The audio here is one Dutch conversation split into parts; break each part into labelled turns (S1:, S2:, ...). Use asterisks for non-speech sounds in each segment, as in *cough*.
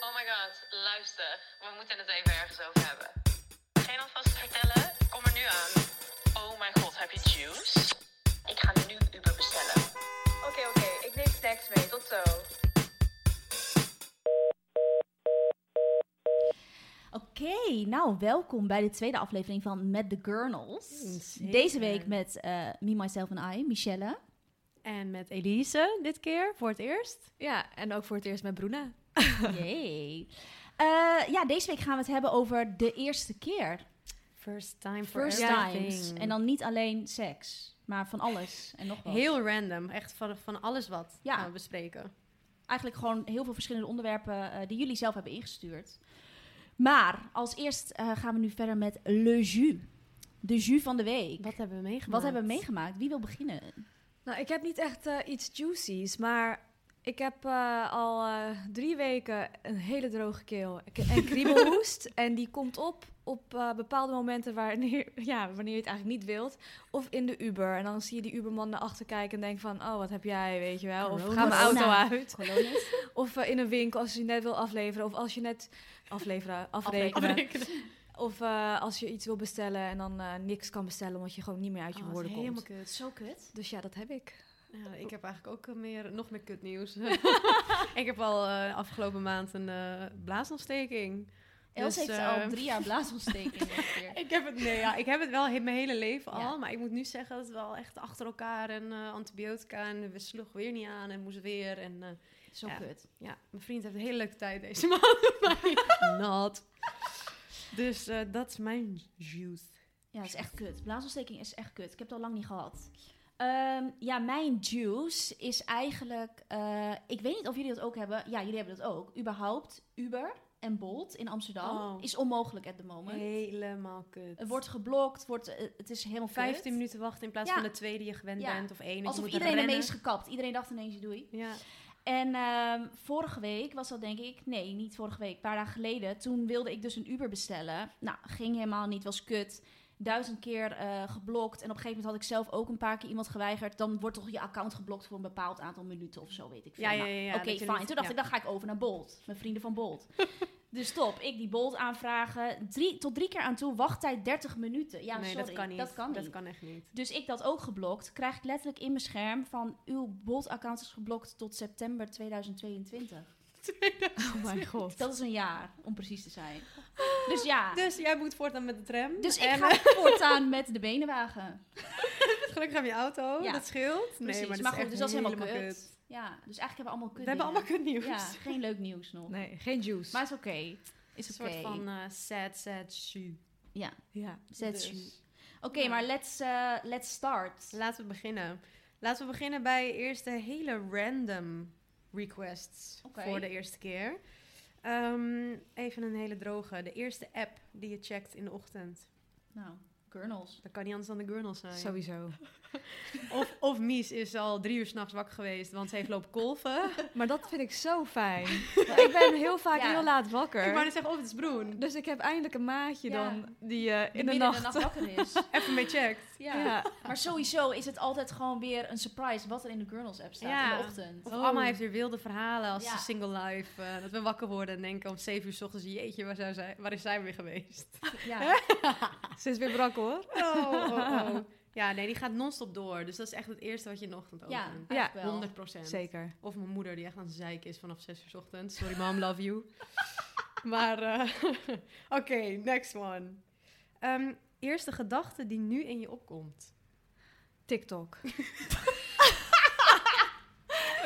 S1: Oh my god, luister. We moeten het even ergens over hebben. Geen alvast vertellen? Kom er nu aan. Oh mijn god, heb je juice? Ik ga nu Uber bestellen. Oké, oké. Ik neem snacks mee. Tot zo.
S2: Oké, nou welkom bij de tweede aflevering van Met de Gurnals. Deze week met eh, Me, Myself en I,
S3: *laughs*
S2: Michelle.
S3: En met Elise dit keer, voor het eerst.
S4: Ja, en ook voor het eerst met Bruna.
S2: Yay. Eh, ja, deze week gaan we het hebben over de eerste keer.
S3: First time for
S2: First
S3: everything.
S2: times. En dan niet alleen seks, maar van alles en nog wat.
S3: Heel random, echt van, van alles wat
S2: Ja.
S3: gaan we bespreken.
S2: Eigenlijk gewoon heel veel verschillende onderwerpen eh, die jullie zelf hebben ingestuurd. Maar als eerst eh, gaan we nu verder met Le Jus. De jus van de week.
S3: Wat hebben we meegemaakt?
S2: Wat hebben we meegemaakt? Wie wil beginnen?
S4: Nou, ik heb niet echt eh, iets juicies, maar ik heb eh, al eh, drie weken een hele droge keel en kriebelhoest. en die komt op op eh, bepaalde momenten *laughs* wanneer, ja, wanneer je het eigenlijk niet wilt. Of in de Uber. En dan zie je die Uberman naar achter kijken en denkt van, oh, wat heb jij, weet je wel. Of
S3: Corona.
S4: ga mijn auto
S2: Corona.
S4: uit.
S2: Colonies?
S4: *laughs* Of eh, in een winkel als je net wil afleveren. Of als je net afleveren, afrekenen. Of eh, als je iets wil bestellen en dan eh, niks kan bestellen omdat je gewoon niet meer uit je
S3: Oh, dat
S4: woorden
S3: is
S4: komt.
S3: helemaal kut. Zo kut.
S4: Dus ja, dat heb ik.
S3: Ja, ik heb eigenlijk ook eh, meer, nog meer
S2: *laughs*
S3: kutnieuws. ik heb al eh, afgelopen maand een eh, blaasontsteking.
S2: Els
S3: Dus,
S2: heeft
S3: eh,
S2: al drie jaar *laughs* blaasontsteking. ongeveer.
S3: Ik heb het, nee, ja, ik heb het wel he- mijn hele leven al. Maar ik moet nu zeggen dat het wel echt achter elkaar en eh, antibiotica. En we sloeg weer niet aan en moest weer. En eh,
S2: Zo
S3: Ja.
S2: kut.
S3: ja, mijn vriend heeft een hele leuke tijd deze *laughs* maand.
S2: *laughs*
S3: Maar not. Dus eh, dat is mijn juice.
S2: Ja, dat is echt kut. Blaasontsteking is echt kut. Ik heb het al lang niet gehad. Ehm, ja, mijn juice is eigenlijk... eh, ik weet niet of jullie dat ook hebben. Ja, jullie hebben dat ook. Überhaupt, Uber en Bolt in Amsterdam
S3: Oh.
S2: is onmogelijk at the moment.
S3: Helemaal kut.
S2: Het wordt geblokt, wordt, eh, het is helemaal kut.
S3: 15 minuten wachten in plaats
S2: Ja.
S3: van de twee die je gewend
S2: Ja.
S3: bent. Of één. en je
S2: Alsof
S3: moet
S2: iedereen ermee
S3: rennen.
S2: is gekapt. Iedereen dacht ineens doei.
S3: Ja.
S2: En ehm, vorige week was dat denk ik, nee, niet vorige week, een paar dagen geleden. Toen wilde ik dus een Uber bestellen. Nou, ging helemaal niet, was kut. Duizend keer eh, geblokt. En op een gegeven moment had ik zelf ook een paar keer iemand geweigerd. Dan wordt toch je account geblokt voor een bepaald aantal minuten of zo, weet ik veel.
S3: Ja, ja,
S2: Nou,
S3: ja, ja,
S2: Oké,
S3: dat je
S2: fine.
S3: niet-
S2: Toen dacht
S3: ja.
S2: ik, dan ga ik over naar Bolt. Mijn vrienden van
S3: *laughs*
S2: Bolt. dus top, ik die Bolt aanvragen. Drie, tot drie keer aan toe, wachttijd 30 minuten. Ja,
S3: nee,
S2: sorry,
S3: dat kan niet.
S2: Dat kan niet.
S3: echt niet.
S2: Dus ik dat ook geblokt. Krijg ik letterlijk in mijn scherm van uw Bolt-account is geblokt tot september 2022.
S4: Oh mijn god.
S2: Dat is een jaar, om precies te zijn. Dus ja.
S3: Dus jij moet voortaan met de tram.
S2: Dus ik
S3: En,
S2: ga
S3: eh,
S2: voortaan met de benenwagen.
S3: gelukkig heb je auto.
S2: Ja.
S3: Dat scheelt.
S2: Precies.
S3: Nee, maar,
S2: maar,
S3: dat is
S2: goed,
S3: echt
S2: dus dat is helemaal
S3: helemaal
S2: kut.
S3: kut.
S2: Ja, dus eigenlijk hebben we allemaal kut
S3: We hebben allemaal
S2: dingen.
S3: kut nieuws.
S2: Ja, geen leuk nieuws nog.
S4: Nee, geen juice.
S2: Maar het is oké. Is
S3: *laughs* Een
S2: oké.
S3: soort van eh, sad, sad shoe.
S2: Ja,
S4: ja.
S2: zet
S3: Dus.
S2: je. Oké, maar let's, eh, let's start.
S3: Laten we beginnen. Laten we beginnen bij eerst de hele random requests
S2: Oké.
S3: voor de eerste keer. Ehm, even een hele droge. De eerste app die je checkt in de ochtend.
S2: Nou, kernels.
S3: *laughs* Dat kan niet anders dan de Gurnal zijn.
S4: Sowieso.
S3: Of, of Mies is al drie uur s'nachts wakker geweest, want ze heeft lopen kolven.
S4: Maar dat vind ik zo fijn. Want ik ben heel vaak
S2: Ja.
S4: heel laat
S3: Ik wou
S4: wakker.
S3: net zeggen, of het is Broen.
S4: Dus ik heb eindelijk een maatje
S2: Ja.
S4: dan die eh, in de
S2: midden
S4: nacht...
S2: wakker
S3: *laughs*
S2: is.
S3: Even mee checkt.
S2: ja.
S4: *laughs* Ja.
S2: Maar sowieso is het altijd gewoon weer een surprise wat er in de Gurnals app staat
S3: Ja.
S2: in de ochtend.
S3: Of
S4: Oh.
S3: Amma heeft weer wilde verhalen als
S2: Ja.
S3: single life. eh, dat we wakker worden en denken om zeven uur s ochtends, jeetje, waar, zijn zij, waar is zij weer geweest?
S2: Ja.
S4: Ze is weer brak hoor.
S3: Oh, oh, oh. *laughs* Ja, nee, die gaat non-stop door. Dus dat is echt het eerste wat je in de ochtend
S2: Ja,
S3: opent.
S2: eigenlijk wel.
S3: 100 procent.
S4: Zeker.
S3: Of mijn moeder die echt aan het zeiken is vanaf 6 uur 's ochtends. Sorry mom, love you. *laughs* maar, eh, *laughs* oké, next one. Ehm, eerste gedachte die nu in je opkomt.
S4: TikTok.
S2: Oh,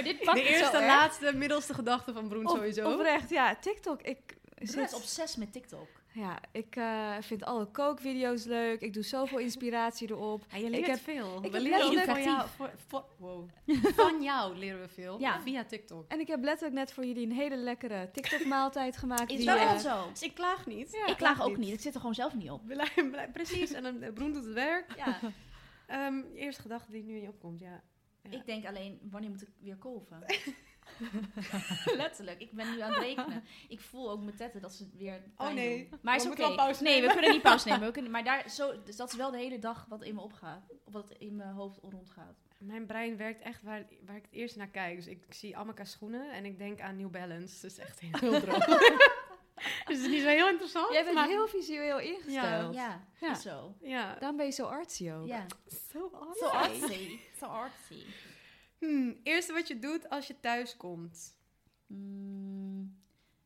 S2: dit pakt
S3: de
S2: het zo
S3: eerste,
S2: erg.
S3: laatste, middelste gedachte van Broen
S4: Op-
S3: sowieso.
S4: Oprecht, ja. TikTok. Ik
S2: Bruna is
S4: zit...
S2: obsessief met TikTok.
S4: Ja, ik eh, vind alle kookvideo's leuk. Ik doe zoveel inspiratie erop.
S3: Ja, je
S4: Ik
S3: leert
S4: heb-
S3: veel.
S4: ik
S3: we
S4: heb
S3: leren ook van
S2: letterlijk-
S3: jou, voor, voor- wow. van jou leren we veel.
S2: Ja.
S3: Via TikTok.
S4: En ik heb letterlijk net voor jullie een hele lekkere TikTok-maaltijd gemaakt.
S2: Is
S4: die,
S2: wel
S4: eh,
S2: echt zo.
S3: Dus ik klaag niet.
S2: ik klaag ook niet. Ik zit er gewoon zelf niet op.
S3: Blij- blij- Precies, en dan, eh, Broen doet het werk.
S2: Ja.
S3: Ehm, eerste gedachte die nu in je opkomt, ja. Ja.
S2: Ik denk alleen, wanneer moet ik weer kolven? *laughs* Letterlijk, ik ben nu aan het rekenen. Ik voel ook mijn tetten dat ze het weer. pijn
S3: nee.
S2: doen. maar
S3: We
S2: is oké.
S3: moeten wel pauze
S2: Nee, we
S3: nemen.
S2: kunnen *laughs* niet pauze nemen. We kunnen, maar daar, zo, dus dat is wel de hele dag wat in me opgaat. Of wat in mijn hoofd rondgaat.
S3: Mijn brein werkt echt waar, waar ik het eerst naar kijk. Dus ik, ik zie Amaka schoenen en ik denk aan New Balance. Dat is echt heel droog. dus het is niet zo heel interessant.
S4: Jij bent
S3: maar-
S4: heel visueel ingesteld.
S2: Ja,
S3: Ja.
S2: is zo.
S3: Ja.
S4: Daarom ben je zo artsy ook.
S2: Ja.
S3: Zo anders.
S2: Zo artsy. Zo artsy.
S3: Hmm, eerste wat je doet als je thuis komt.
S2: Mm,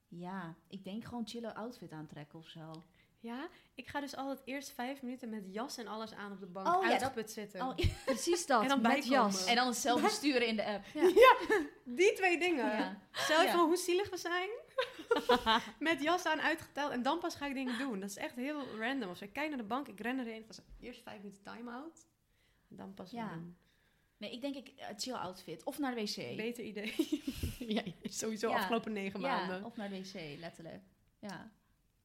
S2: ja, ik denk gewoon chillen outfit aantrekken of zo.
S3: Ja, ik ga dus altijd eerst vijf minuten met jas en alles aan op de bank
S2: Oh, ja,
S3: uitgeput
S2: dat-
S3: zitten.
S2: Oh,
S4: Precies dat,
S3: En dan
S4: met
S3: bijkomen.
S2: *laughs*
S4: jas.
S2: en dan het zelf besturen in de app.
S3: Die twee dingen.
S2: Ja.
S3: Stel je
S2: Ja.
S3: van hoe zielig we zijn. *laughs* Met jas aan uitgeteld. En dan pas ga ik dingen doen. Dat is echt heel random. Of zo. Ik kijk naar de bank, ik ren erheen. Ik was eerst vijf minuten time-out. En dan pas
S2: Ja.
S3: ja. doen.
S2: Nee, ik denk ik eh, chill outfit. Of naar de wc.
S3: Beter idee. *laughs* ja, sowieso
S2: Ja.
S3: afgelopen negen
S2: ja,
S3: maanden.
S2: of naar de wc, letterlijk. Ja.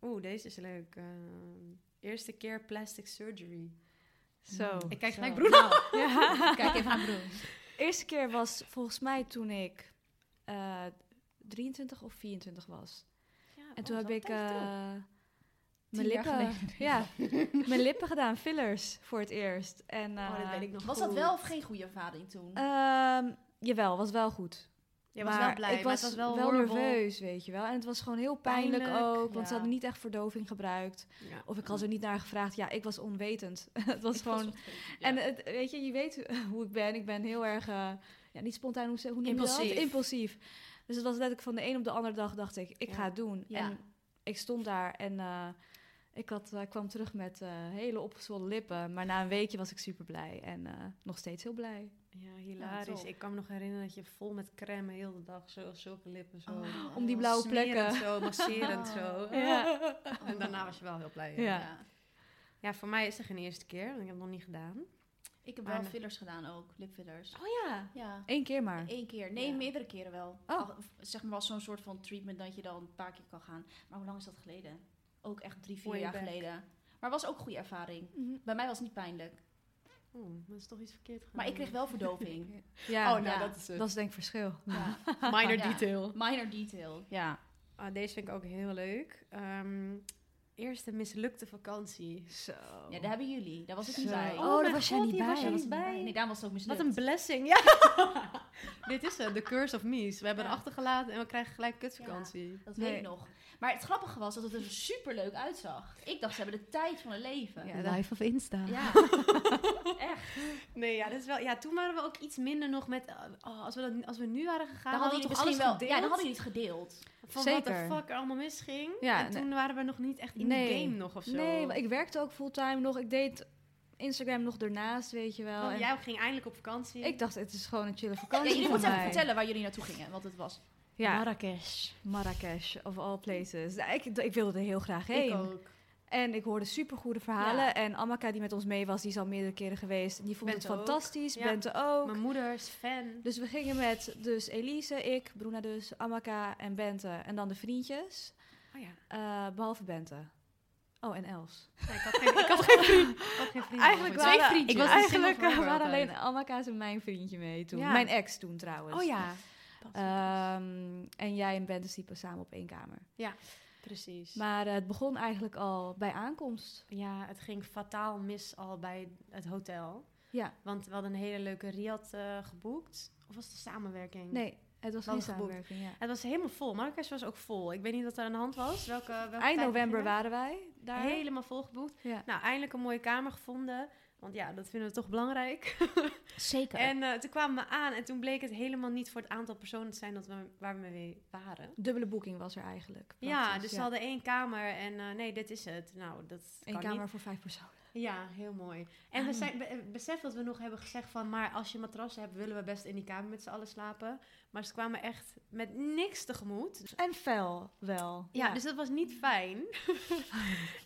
S3: Oeh, deze is leuk. Ehm, eerste keer plastic surgery.
S4: Zo.
S3: Ik kijk gelijk
S2: Zo.
S3: broer.
S2: Nou,
S4: Ja.
S2: kijk even naar Broen.
S4: *laughs* eerste keer was volgens mij toen ik eh, 23 of 24 was. En
S3: Oh,
S4: toen heb ik eh, mijn
S2: Tien jaar
S4: lippen, *laughs* ja, mijn lippen gedaan, fillers voor het eerst. En,
S3: oh, dat
S4: eh,
S3: weet ik nog
S2: Was dat wel of geen goede ervaring toen?
S4: ehm, jawel, was wel goed.
S3: Je was
S4: Maar
S3: wel blij,
S4: ik
S3: maar
S4: was
S3: het was wel,
S4: wel
S3: horrible.
S4: nerveus, weet je wel. En het was gewoon heel pijnlijk,
S3: Pijnlijk,
S4: ook, want ze
S2: ja.
S4: hadden niet echt verdoving gebruikt.
S3: Ja.
S4: Of ik had er niet naar gevraagd. Ja, ik was onwetend. *laughs* het was
S2: Ik
S4: gewoon...
S2: wat geestig, ja.
S4: En het, weet je, je weet eh, hoe ik ben. Ik ben heel erg, eh, ja, niet spontaan, hoe, ze- hoe noem je dat?
S2: Impulsief.
S4: Impulsief. Dus het was letterlijk van de een op de andere dag dacht ik, ik
S3: Ja.
S4: ga het doen.
S2: Ja.
S4: En ik stond daar en eh, ik had, eh, kwam terug met eh, hele opgezwollen lippen. Maar na een weekje was ik super blij en eh, nog steeds heel blij.
S3: Ja, hilarisch.
S2: top.
S3: ik kan me nog herinneren dat je vol met crème heel de dag, zo, zulke lippen, zo.
S2: Oh.
S4: Om die blauwe
S3: Smerend
S4: plekken.
S3: Zo, masserend *laughs* zo.
S4: Ja.
S3: En daarna was je wel heel blij. Ja.
S4: Ja.
S3: ja, voor mij is het geen eerste keer, want ik heb het nog niet gedaan.
S2: Ik heb wel
S3: Maar-
S2: fillers gedaan ook, lipfillers.
S4: Oh ja.
S2: Ja.
S4: Eén keer maar.
S2: Eén keer. Nee,
S3: Ja.
S2: meerdere keren wel.
S4: Oh.
S2: Al- of Zeg maar als zo'n soort van treatment dat je dan een paar keer kan gaan. Maar hoe lang is dat geleden? Ook echt drie, vier
S3: Way
S2: jaar
S3: back.
S2: geleden. Maar was ook goede ervaring.
S4: Mhm.
S2: Bij mij was het niet pijnlijk.
S3: Oeh, Oh, dat is toch iets verkeerd gedaan.
S2: Maar ik kreeg wel verdoving.
S4: Ja,
S3: oh, nou,
S2: ja.
S3: dat is het.
S4: dat is denk ik verschil.
S2: ja.
S3: *laughs* Minor
S2: Ja.
S3: detail.
S2: Minor detail. Ja.
S3: Ah, deze vind ik ook heel leuk. Ehm, eerste mislukte vakantie.
S4: Zo.
S2: ja, daar hebben jullie. Daar was ik
S4: Zo.
S2: niet bij.
S4: Oh, daar
S3: mijn
S4: was jij niet
S3: die was
S4: bij.
S3: jij
S2: Daar was
S3: niet
S2: ik niet
S3: bij.
S2: Nee, daar was het ook
S3: Wat
S2: mislukt.
S3: een blessing, ja. *laughs* Dit is het, de curse of me's. We hebben
S2: Ja.
S3: er achtergelaten en we krijgen gelijk kutvakantie.
S2: Dat weet
S4: Nee.
S2: ik nog. Maar het grappige was dat het er superleuk uitzag. Ik dacht, ze hebben de tijd van hun leven. Ja.
S3: Ja, dat-
S4: Live of Insta.
S2: Echt.
S3: Nee, ja, dat is wel, ja, toen waren we ook iets minder nog met... eh, oh, als, we dat, als we nu waren gegaan,
S2: Dan hadden
S3: hadden we
S2: jullie misschien
S3: toch alles
S2: wel...
S3: gedeeld?
S2: Ja, dan hadden jullie het gedeeld.
S3: Van
S4: Zeker.
S3: wat de fuck er allemaal misging.
S4: Ja,
S3: en toen waren we nog niet echt in
S4: Nee.
S3: de game nog of zo.
S4: Nee, maar ik werkte ook fulltime nog. Ik deed Instagram nog daarnaast, weet je wel.
S3: Want
S4: En-
S3: jij ging eindelijk op vakantie.
S4: oh, Ik dacht, het is gewoon een chille
S2: Ja,
S4: vakantie.
S2: jullie
S4: voor
S2: moeten even
S4: mij.
S2: vertellen waar jullie naartoe gingen. Wat het was.
S4: Ja,
S3: Marrakesh.
S4: Marrakesh, of all places. Nou, ik, ik wilde er heel graag heen.
S3: Ik ook.
S4: En ik hoorde supergoede verhalen. En Amaka, die met ons mee was, die is al meerdere keren geweest. Die vond
S3: Bente
S4: het
S3: ook.
S4: fantastisch.
S3: Ja.
S4: Bente ook.
S3: Mijn moeder is fan.
S4: Dus we gingen met dus Elise, ik, Bruna dus, Amaka en Bente. En dan de vriendjes.
S3: Oh ja.
S4: Eh, behalve Bente. Oh, en Els.
S3: ik, had geen, ik had geen vriend. Ik had geen vriend.
S4: Eigenlijk
S3: twee vriendjes.
S4: waren-
S3: eh,
S4: Ik
S2: Ik
S4: was
S2: was
S4: eigenlijk eh, waren alleen Amaka's en mijn vriendje mee toen.
S3: Ja.
S4: Mijn ex toen trouwens.
S3: Oh ja.
S4: Ehm, en jij en Bente sliepen samen op één kamer.
S3: Precies.
S4: Maar eh, het begon eigenlijk al bij aankomst.
S3: ja, het ging fataal mis al bij het hotel.
S4: Ja.
S3: Want we hadden een hele leuke riad eh, geboekt. Of was het een samenwerking?
S4: Nee, het was
S3: We
S4: geen
S3: hadden geboekt.
S4: samenwerking. Ja.
S3: Het was helemaal vol. Marrakesh was ook vol. Ik weet niet wat er aan de hand was. Welke, welke tijd
S4: Eind
S3: we
S4: november
S3: gingen.
S4: waren wij daar.
S3: Helemaal volgeboekt.
S4: Ja.
S3: Nou, eindelijk een mooie kamer gevonden. Want ja, dat vinden we toch belangrijk.
S2: Zeker.
S3: En eh, toen kwamen we aan en toen bleek het helemaal niet voor het aantal personen te zijn dat we, waar we mee waren.
S4: Dubbele boeking was er eigenlijk.
S3: Ja,
S4: praktisch,
S3: dus we hadden één kamer en eh, nee, dit is het. Nou, dat
S4: Eén
S3: kan
S4: kamer
S3: niet.
S4: voor vijf personen.
S3: Ja, heel mooi. En we zijn, be- eh, besef dat we nog hebben gezegd van, maar als je matrassen hebt, willen we best in die kamer met z'n allen slapen. Maar ze kwamen echt met niks tegemoet.
S4: En fel wel.
S3: Ja, dus dat was niet
S4: *laughs*
S3: fijn.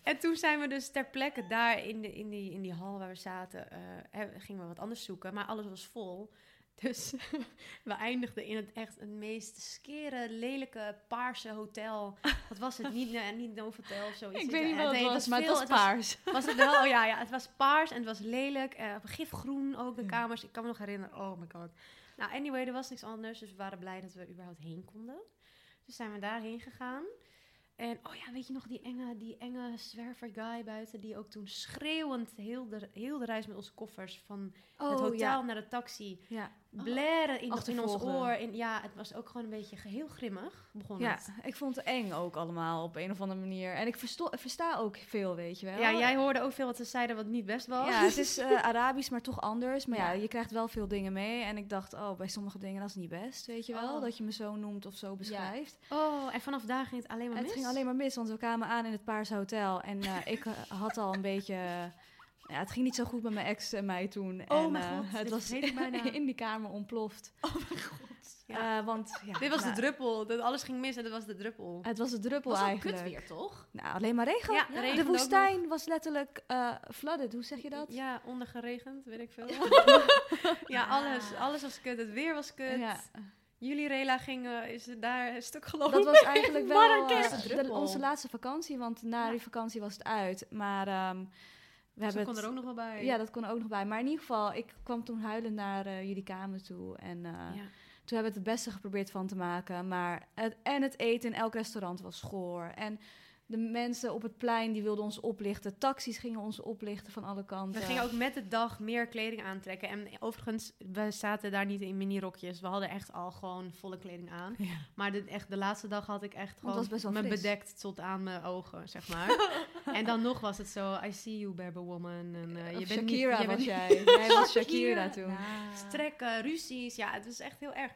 S3: en toen zijn we dus ter plekke daar in, de, in, die, in die hal waar we zaten, eh, he- gingen we wat anders zoeken. Maar alles was vol. Dus *laughs* we eindigden in het echt het meest skere, lelijke, paarse hotel. Wat was het? Niet, *laughs* eh, niet no hotel of zoiets.
S4: ik weet niet wat het
S3: nee,
S4: was, maar
S3: veel-
S4: het was paars.
S3: was het wel? Oh ja, ja, het was paars en het was lelijk. eh, gifgroen ook, de kamers. Ik kan me nog herinneren. Oh my god. Nou, anyway, er was niks anders. Dus we waren blij dat we überhaupt heen konden. Dus zijn we daarheen gegaan. En oh ja, weet je nog die enge, die enge zwerver guy buiten die ook toen schreeuwend heel de, heel de reis met onze koffers van
S4: Oh,
S3: het hotel
S4: ja.
S3: naar de taxi
S4: ja.
S3: Oh, blaren in, in ons
S4: achtervolgen.
S3: oor. En ja, het was ook gewoon een beetje heel grimmig begon
S4: Ja,
S3: het.
S4: ik vond het eng ook allemaal op een of andere manier. En ik versto- versta ook veel, weet je wel.
S3: Ja, jij hoorde ook veel wat ze zeiden wat niet best was. *laughs*
S4: Ja, het is eh, Arabisch, maar toch anders. Maar ja.
S3: Oh. Ja.
S4: je krijgt wel veel dingen mee. En ik dacht, oh, bij sommige dingen, dat is niet best, weet je wel.
S3: Oh.
S4: Dat je me zo noemt of zo beschrijft.
S3: Oh, en vanaf daar ging het alleen maar
S4: En
S3: mis?
S4: het ging alleen maar mis, want we kwamen aan in het Paarse Hotel. En eh, ik eh, had al een beetje... eh, ja, het ging niet zo goed met mijn ex en mij toen.
S3: Oh
S4: en,
S3: mijn
S4: eh,
S3: god,
S4: het
S3: dit
S4: was
S3: weet ik bijna.
S4: *laughs* in die kamer ontploft. Oh mijn god. want, ja,
S3: Dit was
S4: nou,
S3: de druppel. Dat alles ging mis en dat was de druppel.
S4: Het was de druppel
S2: was al
S4: eigenlijk.
S2: kut weer, toch?
S4: Nou, alleen maar regen.
S3: Ja, regende
S4: de
S3: ook
S4: woestijn was letterlijk eh, flooded. Hoe zeg je dat?
S3: Ja, ondergeregend, weet ik veel. Ja, *laughs* alles, alles was kut. Het weer was kut.
S4: Ja.
S3: Jullie rela ging, eh, is daar een stuk gelopen.
S4: Dat was eigenlijk wel
S3: Marrakesh.
S4: eh,
S2: De
S4: de-
S2: druppel.
S4: onze laatste vakantie, want na die vakantie was het uit. Maar ehm, we
S3: Ze
S4: hebben
S3: kon
S4: het-
S3: er ook nog wel bij.
S4: Ja, dat kon er ook nog bij. Maar in ieder geval, ik kwam toen huilend naar eh, jullie kamer toe. En eh,
S3: Ja.
S4: toen hebben we het het beste geprobeerd van te maken. Maar het, en het eten in elk restaurant was goor. En de mensen op het plein die wilden ons oplichten. Taxis gingen ons oplichten van alle kanten.
S3: We gingen ook met de dag meer kleding aantrekken. En overigens, we zaten daar niet in minirokjes. We hadden echt al gewoon volle kleding aan.
S4: Ja.
S3: Maar de, echt, de laatste dag had ik echt
S4: het
S3: gewoon
S4: was best wel
S3: me
S4: fris.
S3: bedekt tot aan mijn ogen, zeg
S4: *laughs*
S3: maar. en dan nog was het zo, I see you, Berber Woman. En, eh,
S4: Of
S3: je bent
S4: Shakira
S3: niet, je
S4: was
S3: bent
S4: jij. Jij was Shakira
S3: *laughs* Shakira.
S4: toen.
S3: trekken, ruzies. Ja, het was echt heel erg.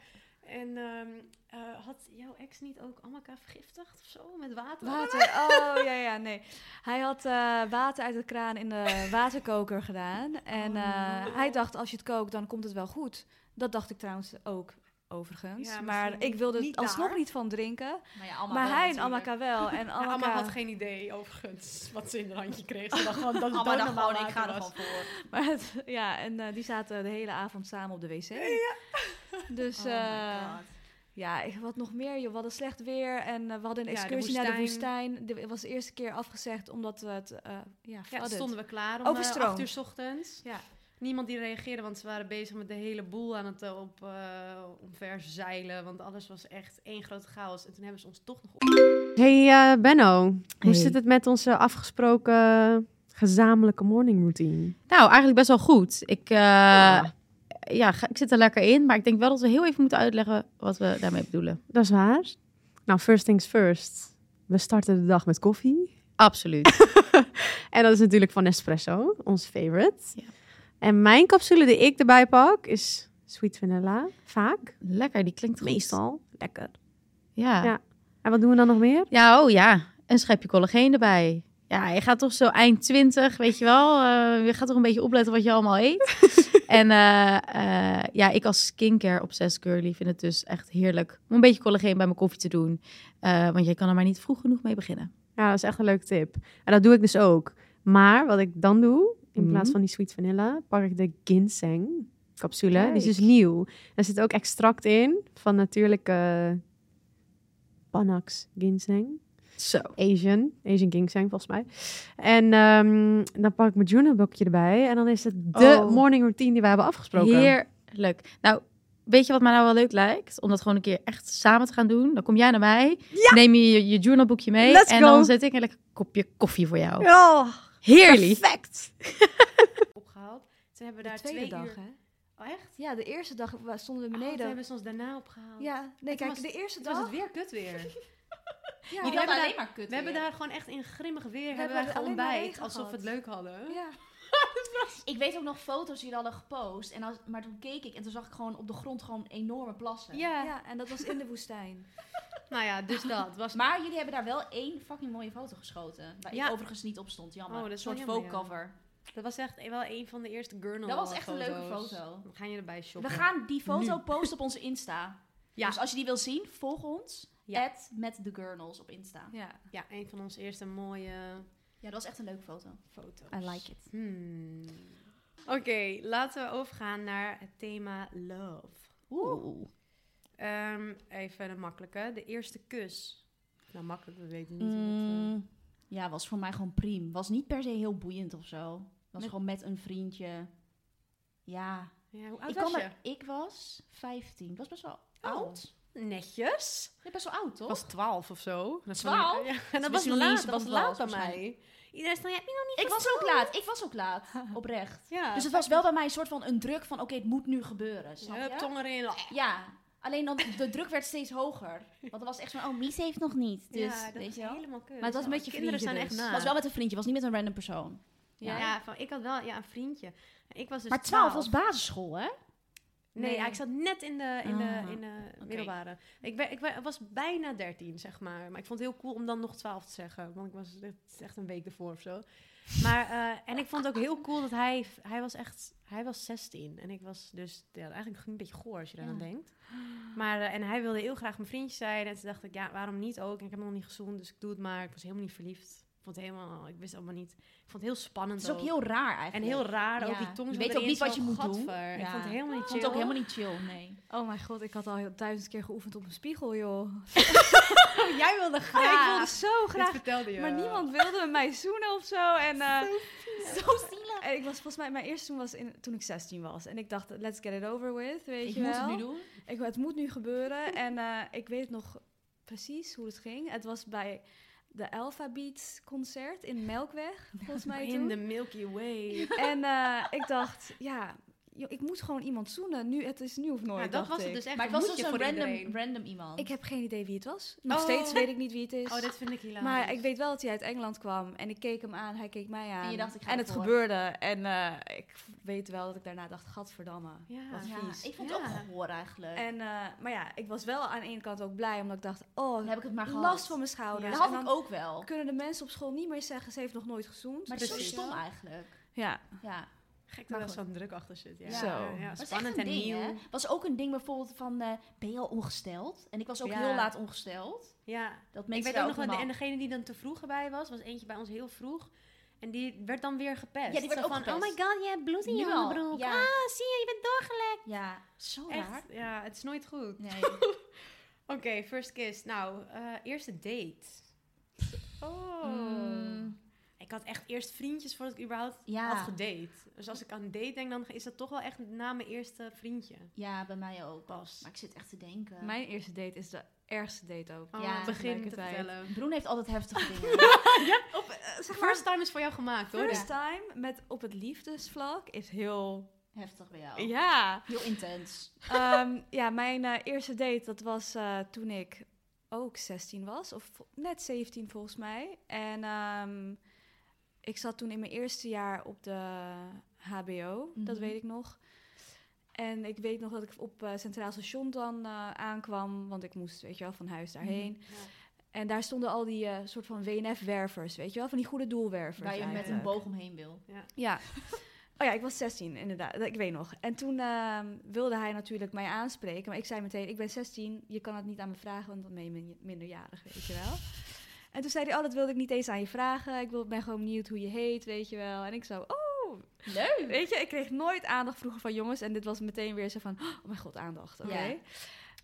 S3: En ehm, eh, had jouw ex niet ook Amaka vergiftigd of zo met water?
S4: Water. Oh ja, ja, nee. Hij had eh, water uit de kraan in de waterkoker gedaan. En
S3: Oh,
S4: eh,
S3: no.
S4: hij dacht, als je het kookt, dan komt het wel goed. Dat dacht ik trouwens ook, overigens.
S3: Ja,
S4: maar
S3: misschien
S4: ik wilde
S3: niet
S4: er alsnog
S3: daar.
S4: niet van drinken.
S2: Maar, ja, allemaal
S4: maar
S2: wel
S4: hij en
S2: natuurlijk.
S4: Amaka wel.
S3: *laughs*
S4: En
S3: Ja,
S4: Amaka,
S3: Amma had geen idee overigens wat ze in haar handje kreeg. Ze dacht gewoon
S2: *laughs*
S3: dat het
S2: Allemaal Oh, dan
S3: doodnormaal
S2: gewoon, ik ga
S3: water
S2: er
S3: was.
S2: gewoon voor.
S4: *laughs* maar het- ja, en eh, die zaten de hele avond samen op de wc. *laughs* Dus
S2: Oh my
S4: eh,
S3: nou,
S2: god.
S4: ja, ik- wat nog meer, joh. We hadden slecht weer en eh, we hadden een
S3: Ja, de
S4: excursie naar de
S3: woestijn.
S4: woestijn. Dit was de eerste keer afgezegd omdat we het, eh ja,
S3: Ja, toen
S4: flooded.
S3: stonden we klaar om eh,
S4: Overstroomd.
S3: acht uur 's ochtends.
S4: Ja.
S3: Niemand die reageerde, want ze waren bezig met de hele boel aan het eh, op, eh omverzeilen. Want alles was echt één grote chaos. En toen hebben ze ons toch nog op...
S5: Hey Benno,
S6: hoe Hey. zit
S5: het met onze afgesproken gezamenlijke morning routine?
S6: Nou, eigenlijk best wel goed. Ik, eh, ja. ga- ik zit er lekker in, maar ik denk wel dat we heel even moeten uitleggen wat we daarmee bedoelen.
S5: Dat is waar. Nou, first things first. We starten de dag met koffie.
S6: Absoluut.
S5: En dat is natuurlijk van Nespresso, ons favorite.
S6: Ja.
S5: En mijn capsule die ik erbij pak is sweet vanilla, vaak.
S6: *laughs* lekker, die klinkt goed.
S5: Meestal. Lekker.
S6: Ja.
S5: Ja.
S6: ja.
S5: En wat doen we dan nog meer?
S6: oh ja. Een schepje collageen erbij. Ja, je gaat toch zo eind 20, weet je wel. eh, je gaat toch een beetje opletten wat je allemaal eet. *laughs* en eh, eh, ja, ik als skincare obsessed girly vind het dus echt heerlijk om een beetje collageen bij mijn koffie te doen. Eh, want je kan er maar niet vroeg genoeg mee beginnen.
S5: Ja, dat is echt een leuke tip. En dat doe ik dus ook. Maar wat ik dan doe, in
S6: Mhm.
S5: plaats van die sweet vanilla, pak ik de ginseng capsule. Die is dus
S6: Kijk.
S5: nieuw. Daar zit ook extract in van natuurlijke Panax ginseng.
S6: Zo.
S5: Asian. Asian ginseng, volgens mij. En ehm, dan pak ik mijn journalboekje erbij. En dan is het de
S6: Oh.
S5: morning routine die we hebben afgesproken.
S6: Heerlijk. Nou, weet je wat mij nou wel leuk lijkt? Om dat gewoon een keer echt samen te gaan doen. Dan kom jij naar mij, neem je je, je journalboekje mee
S5: Let's
S6: en
S5: go.
S6: dan zet ik een lekker kopje koffie voor jou.
S5: Oh,
S6: Heerlijk.
S5: perfect.
S3: opgehaald. Toen hebben we
S4: De
S3: daar
S4: tweede
S3: twee
S4: dag,
S3: uur...
S4: hè?
S3: Oh, echt?
S4: Ja, de eerste dag wa- stonden we
S3: Oh, toen
S4: beneden.
S3: hebben ze ons daarna opgehaald.
S4: Ja, nee,
S3: Het
S4: kijk,
S3: was-
S4: de eerste
S3: Toen was het
S4: dag.
S3: weer kut weer.
S4: Ja,
S3: Jullie
S2: hadden
S4: ja,
S3: hebben
S2: alleen maar kut
S3: We hebben
S2: weer.
S3: daar gewoon echt in grimmig weer hebben,
S4: hebben
S3: wij gewoon
S4: alleen maar
S3: ontbijt.
S4: regen
S3: Alsof we het
S4: gehad.
S3: leuk hadden.
S4: ja.
S2: Ik weet ook nog foto's die hadden gepost. En als, maar toen keek ik en toen zag ik gewoon op de grond gewoon enorme plassen.
S3: Ja.
S4: ja, en dat was in de woestijn.
S3: Nou ja, dus dat. Was
S2: Maar jullie hebben daar wel één fucking mooie foto geschoten. Waar
S3: Ja.
S2: ik overigens niet op stond, jammer.
S3: Oh, dat
S2: een
S3: is wel
S2: soort
S3: jammer, ja.
S2: vocover.
S3: Dat was echt wel een van de eerste journal
S2: Dat was echt een
S3: foto's.
S2: leuke foto.
S3: We gaan je erbij shoppen.
S2: We gaan die foto
S3: Nu.
S2: posten op onze Insta.
S3: Ja.
S2: Dus als je die wil zien, volg ons.
S3: Ja.
S2: at met the Gurnals op Insta.
S4: Ja,
S3: Ja, een van onze eerste mooie
S2: Ja, dat was echt een leuke foto.
S3: foto's.
S4: I like it.
S3: Hmm. Oké, laten we overgaan naar het thema love.
S2: Oeh.
S3: Ehm, even een makkelijke. De eerste kus. Nou, makkelijk, we weten niet. hoe dat,
S2: Mm, ja, was voor mij gewoon priem. Was niet per se heel boeiend of zo. Was
S3: Met-
S2: gewoon met een vriendje. Ja.
S3: eh, ja, hoe oud
S2: ik,
S3: was
S2: kwam
S3: je?
S2: er- ik was 15. Dat was best wel oud.
S3: netjes.
S2: Je bent best wel oud, toch?
S3: Ik was 12 of zo. Dat is wel-
S2: 12?
S3: Ja, en dat was
S2: wist nog niet
S3: laat,
S2: eens
S3: dat
S2: wat
S3: was
S2: het
S3: laat
S2: was,
S3: bij mij.
S2: waarschijnlijk.
S3: Iedereen zei, ja, heb je nog niet
S2: ik was ook laat. Ik was ook
S3: *laughs*
S2: laat. Oprecht.
S3: Ja,
S2: Dus het was wel bij mij een soort van een druk van, oké, het moet nu gebeuren. Snap
S3: Hup,
S2: je?
S3: tong erin.
S2: Ja. Alleen dan, de druk werd steeds hoger. Want er was echt van, oh, Mies heeft nog niet. Dus,
S3: ja, dat
S2: weet
S3: is
S2: je wel.
S3: helemaal kut.
S4: Maar het was
S3: Ja,
S4: met je
S3: Kinderen zijn
S4: vriendje
S3: echt
S4: dus.
S3: na.
S2: Het
S4: Het
S2: was wel met een vriendje, het was niet met een random persoon.
S3: ja,
S2: Ja.
S3: van, ik had wel ja, een vriendje. Ik was dus
S2: maar 12 was basisschool, hè?
S3: Nee,
S4: Nee.
S3: ja, ik zat net in de, in
S2: Ah,
S3: de, in de middelbare. Ik, ben, ik ben- was bijna 13, zeg maar. Maar ik vond het heel cool om dan nog 12 te zeggen. Want ik was het is echt een week ervoor of zo. Maar, eh, en ik vond het ook heel cool dat hij... Hij was echt... Hij was 16. En ik was dus ja, eigenlijk een beetje goor als je daar aan
S2: Ja.
S3: denkt. Maar, eh, en hij wilde heel graag mijn vriendje zijn. En toen dacht ik, ja, waarom niet ook? En ik heb nog niet gezoend, dus ik doe het maar. Ik was helemaal niet verliefd. Ik vond het helemaal... Ik wist het allemaal niet. Ik vond het heel spannend
S2: Het is ook heel raar eigenlijk.
S3: En heel raar, ook
S2: Ja.
S3: die tong
S2: Je
S3: zo
S2: weet ook
S3: erin,
S2: niet
S3: zo,
S2: wat je moet doen.
S3: gadver. Ik
S2: Ja.
S3: vond het helemaal niet
S2: Ik
S3: chill.
S2: vond het ook helemaal niet chill,
S3: *laughs*
S2: nee.
S4: Oh mijn god, ik had al heel duizend keer geoefend op een spiegel, joh.
S3: Oh, Jij wilde graag.
S4: Maar ik wilde zo
S3: Dit
S4: graag.
S3: vertelde je.
S4: Maar niemand wilde met mij zoenen of zo. En, eh,
S2: Zo zielig.
S4: en ik was volgens mij, mijn eerste zoen was in, toen ik 16 was. En ik dacht, let's get it over with, weet
S2: Ik
S4: je
S2: moet
S4: wel.
S2: het nu doen.
S4: Ik, het moet nu gebeuren. En eh, ik weet nog precies hoe het ging. Het was bij de Alpha Beats concert in Melkweg, volgens mij
S3: In
S4: toen.
S3: the Milky Way.
S4: En eh, ik dacht, ja, joh, ik moet gewoon iemand zoenen. Nu, het is nu of
S3: Ja,
S4: nooit,
S3: dat
S4: dacht
S3: was het
S4: ik.
S3: dus echt.
S2: Maar het was
S3: een
S2: dus een random, *laughs* random iemand.
S4: Ik heb geen idee wie het was. Nog
S3: Oh.
S4: steeds weet ik niet wie het is.
S3: Oh, dat vind ik hilarisch.
S4: maar ik weet wel dat hij uit Engeland kwam. En ik keek hem aan, hij keek mij aan.
S2: En je dacht, ik ga
S4: en het
S2: ervoor.
S4: gebeurde. En eh, ik weet wel dat ik daarna dacht, gadverdamme.
S3: Ja.
S4: Wat
S2: ja,
S4: vies.
S2: ik vond het
S3: Ja.
S2: ook gehoor eigenlijk.
S4: En, eh, maar ja, ik was wel aan de ene kant ook blij, omdat ik dacht, oh,
S2: dan heb ik het maar gehad.
S4: last van mijn schouders.
S2: Dat
S4: En
S2: had
S4: dan
S2: ik ook wel.
S4: kunnen de mensen op school niet meer zeggen, ze heeft nog nooit gezoend.
S2: Maar het is zo
S3: Precies.
S2: stom eigenlijk.
S4: Ja,
S2: Ja.
S3: Gek
S2: Maar
S3: dat er
S2: goed.
S3: zo'n druk achter zit. Ja.
S4: Zo.
S3: Ja, ja,
S2: Dat was
S3: Spannend
S2: echt
S3: en
S2: een ding,
S3: nieuw.
S2: hè? was ook een ding bijvoorbeeld van, eh, ben je al ongesteld? En ik was ook
S3: Ja.
S2: heel laat ongesteld.
S3: Ja.
S2: Dat
S3: Ik
S2: mensen
S3: weet
S2: daar
S3: ook nog dat de-
S2: helemaal-
S3: en degene die dan te vroeg bij was, was eentje bij ons heel vroeg. En die werd dan weer gepest.
S2: Ja, die werd
S3: Zo
S2: ook
S3: van,
S2: gepest.
S3: Oh my god, je hebt bloed in je
S2: Nu al.
S3: onderbroek.
S2: Ja.
S3: Ah, zie je, je bent doorgelekt.
S2: Ja, zo raar.
S3: Echt, ja, het is nooit goed.
S2: *laughs* Nee.
S3: Oké, first kiss. Nou, eh, eerste date. Oh.
S2: Mm,
S3: Ik had echt eerst vriendjes voordat ik überhaupt had
S2: ja.
S3: gedate. Dus als ik aan date denk, dan is dat toch wel echt na mijn eerste vriendje.
S2: ja, bij mij ook.
S3: Pas.
S2: Maar ik zit echt te denken.
S4: mijn eerste date is de ergste date ook.
S2: Oh, Ja,
S3: begin te
S4: tegelijkertijd.
S3: vertellen.
S2: Broen heeft altijd heftige
S4: *laughs*
S2: dingen. Eh,
S3: First time is voor jou gemaakt, hoor.
S4: First time met op het liefdesvlak is heel...
S2: Heftig bij jou.
S4: *laughs* Ja.
S2: Heel intens.
S4: Ehm, ja, mijn eh, eerste date, dat was eh, toen ik ook 16 was. Of vo- net 17 volgens mij. En ehm, ik zat toen in mijn eerste jaar op de HBO. Dat
S2: Mhm.
S4: weet ik nog. En ik weet nog dat ik op eh, Centraal Station dan eh, aankwam. Want ik moest, weet je wel, van huis
S2: Mhm,
S4: daarheen. En daar stonden al die eh, soort van WNF-wervers, weet je wel? Van die goede doelwervers
S2: Waar je met een
S4: eigenlijk.
S2: boog omheen wil.
S4: Ja. *laughs* Oh ja, ik was 16, inderdaad. Ik weet nog. En toen ehm, wilde hij natuurlijk mij aanspreken. Maar ik zei meteen, ik ben 16, je kan het niet aan me vragen, want dan ben je min- minderjarig, weet je wel. En toen zei hij, oh, dat wilde ik niet eens aan je vragen. Ik wil- ben gewoon benieuwd hoe je heet, weet je wel. En ik zo, oh,
S2: Leuk.
S4: weet je, ik kreeg nooit aandacht vroeger van jongens. En dit was meteen weer zo van, oh mijn god, aandacht, oké.
S2: Ja.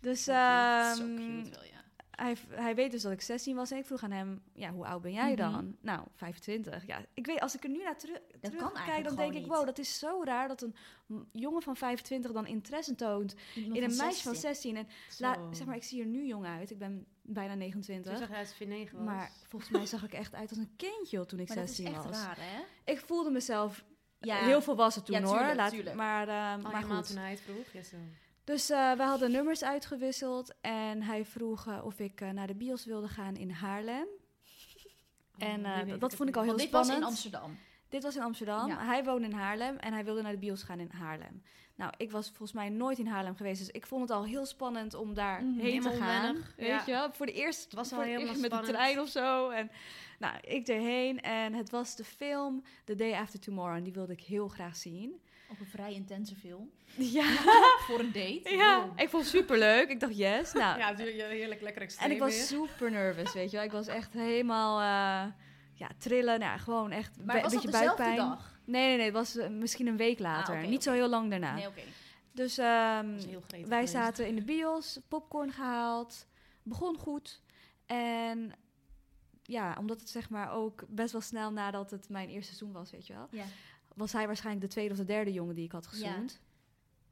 S4: Dus
S2: zo
S4: ehm,
S2: cute wel, ja.
S4: hij, hij weet dus dat ik 16 was en ik vroeg aan hem, ja, hoe oud ben jij dan?
S2: Mhm.
S4: Nou, 25. Ja, ik weet, als ik er nu naar teru
S2: kan
S4: terugkijk,
S2: eigenlijk
S4: dan denk
S2: gewoon
S4: ik,
S2: niet.
S4: wow, dat is zo raar dat een m- jongen van 25 dan interesse toont in een meisje van 16. En la- zeg maar, ik zie er nu jong uit, ik ben bijna
S3: Dus- Toen
S4: 29.
S3: zag hij dat ze 4-9 was.
S4: Maar volgens mij zag ik echt uit als een kindje joh, toen ik
S2: Maar dat is
S4: 16
S2: echt
S4: was.
S2: raar, hè?
S4: Ik voelde mezelf
S2: Ja.
S4: Eh, heel volwassen toen
S2: Ja,
S4: hoor.
S2: tuurlijk,
S4: Laat,
S2: tuurlijk.
S4: Maar, ehm,
S3: Oh,
S4: maar
S3: helemaal
S4: goed.
S3: toen hij het vroeg? Ja, zo. Oh,
S4: Dus eh, we hadden nummers uitgewisseld en hij vroeg eh, of ik eh, naar de bios wilde gaan in Haarlem. En eh, dat- dat vond ik al heel
S2: Want dit was
S4: spannend.
S2: in Amsterdam.
S4: Dit was in Amsterdam.
S2: Ja.
S4: Hij woonde in Haarlem en hij wilde naar de bios gaan in Haarlem. Nou, ik was volgens mij nooit in Haarlem geweest, dus ik vond het al heel spannend om daar
S2: Mhm.
S4: heen te
S3: Helemaal
S4: gaan.
S3: onwennig,
S4: Weet
S3: ja.
S4: je wel? Voor de eerst
S3: Het was
S4: voor
S3: al
S4: de
S3: helemaal
S4: eerst met de
S3: spannend.
S4: trein of zo. En nou, ik erheen en het was de film The Day After Tomorrow en die wilde ik heel graag zien.
S2: Ook een vrij intense film.
S4: *laughs* Ja,
S2: Voor een date.
S4: *laughs* ja. ik vond het superleuk. Ik dacht yes. Nou,
S3: Ja, natuurlijk heerlijk lekker extreem
S4: En ik was
S3: weer.
S4: super nervous, weet je wel. Ik was echt helemaal eh, ja, trillen. Nou, ja, gewoon echt
S2: Maar
S4: een
S2: was dat
S4: beetje
S2: dezelfde
S4: buikpijn.
S2: dag?
S4: Nee, nee, nee. Het was eh, misschien een week later.
S2: Ah, oké,
S4: Niet zo heel lang daarna.
S2: Nee, oké.
S4: Dus ehm,
S3: Dat was heel gretig
S4: wij
S3: geweest.
S4: zaten in de bios, popcorn gehaald. Begon goed. En ja, omdat het zeg maar ook best wel snel nadat het mijn eerste seizoen was, weet je wel.
S2: Ja.
S4: Was hij waarschijnlijk de tweede of de derde jongen die ik had gezoend.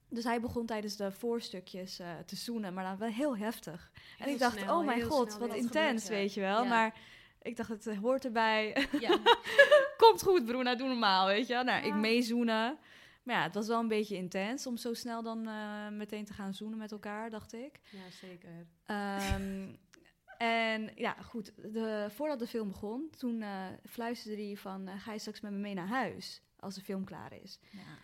S4: Dus hij begon tijdens de voorstukjes eh, te zoenen, maar dan wel heel heftig. en
S3: Heel
S4: ik dacht,
S3: snel,
S4: oh mijn
S3: heel
S4: god,
S3: snel
S4: wat
S3: weer.
S4: intens,
S2: gebeurt er?
S4: weet je wel.
S2: Ja.
S4: Maar ik dacht, het eh, hoort erbij. *laughs*
S2: Ja.
S4: Komt goed, Bruna, doe normaal, weet je wel. Nou, ik
S3: Ja.
S4: meezoenen. Maar ja, het was wel een beetje intens om zo snel dan eh, meteen te gaan zoenen met elkaar, dacht ik.
S3: Ja, zeker.
S2: *laughs*
S4: Ehm, en ja, goed. De, voordat de film begon, toen eh, fluisterde hij van... eh, ga je straks met me mee naar huis als de film klaar is.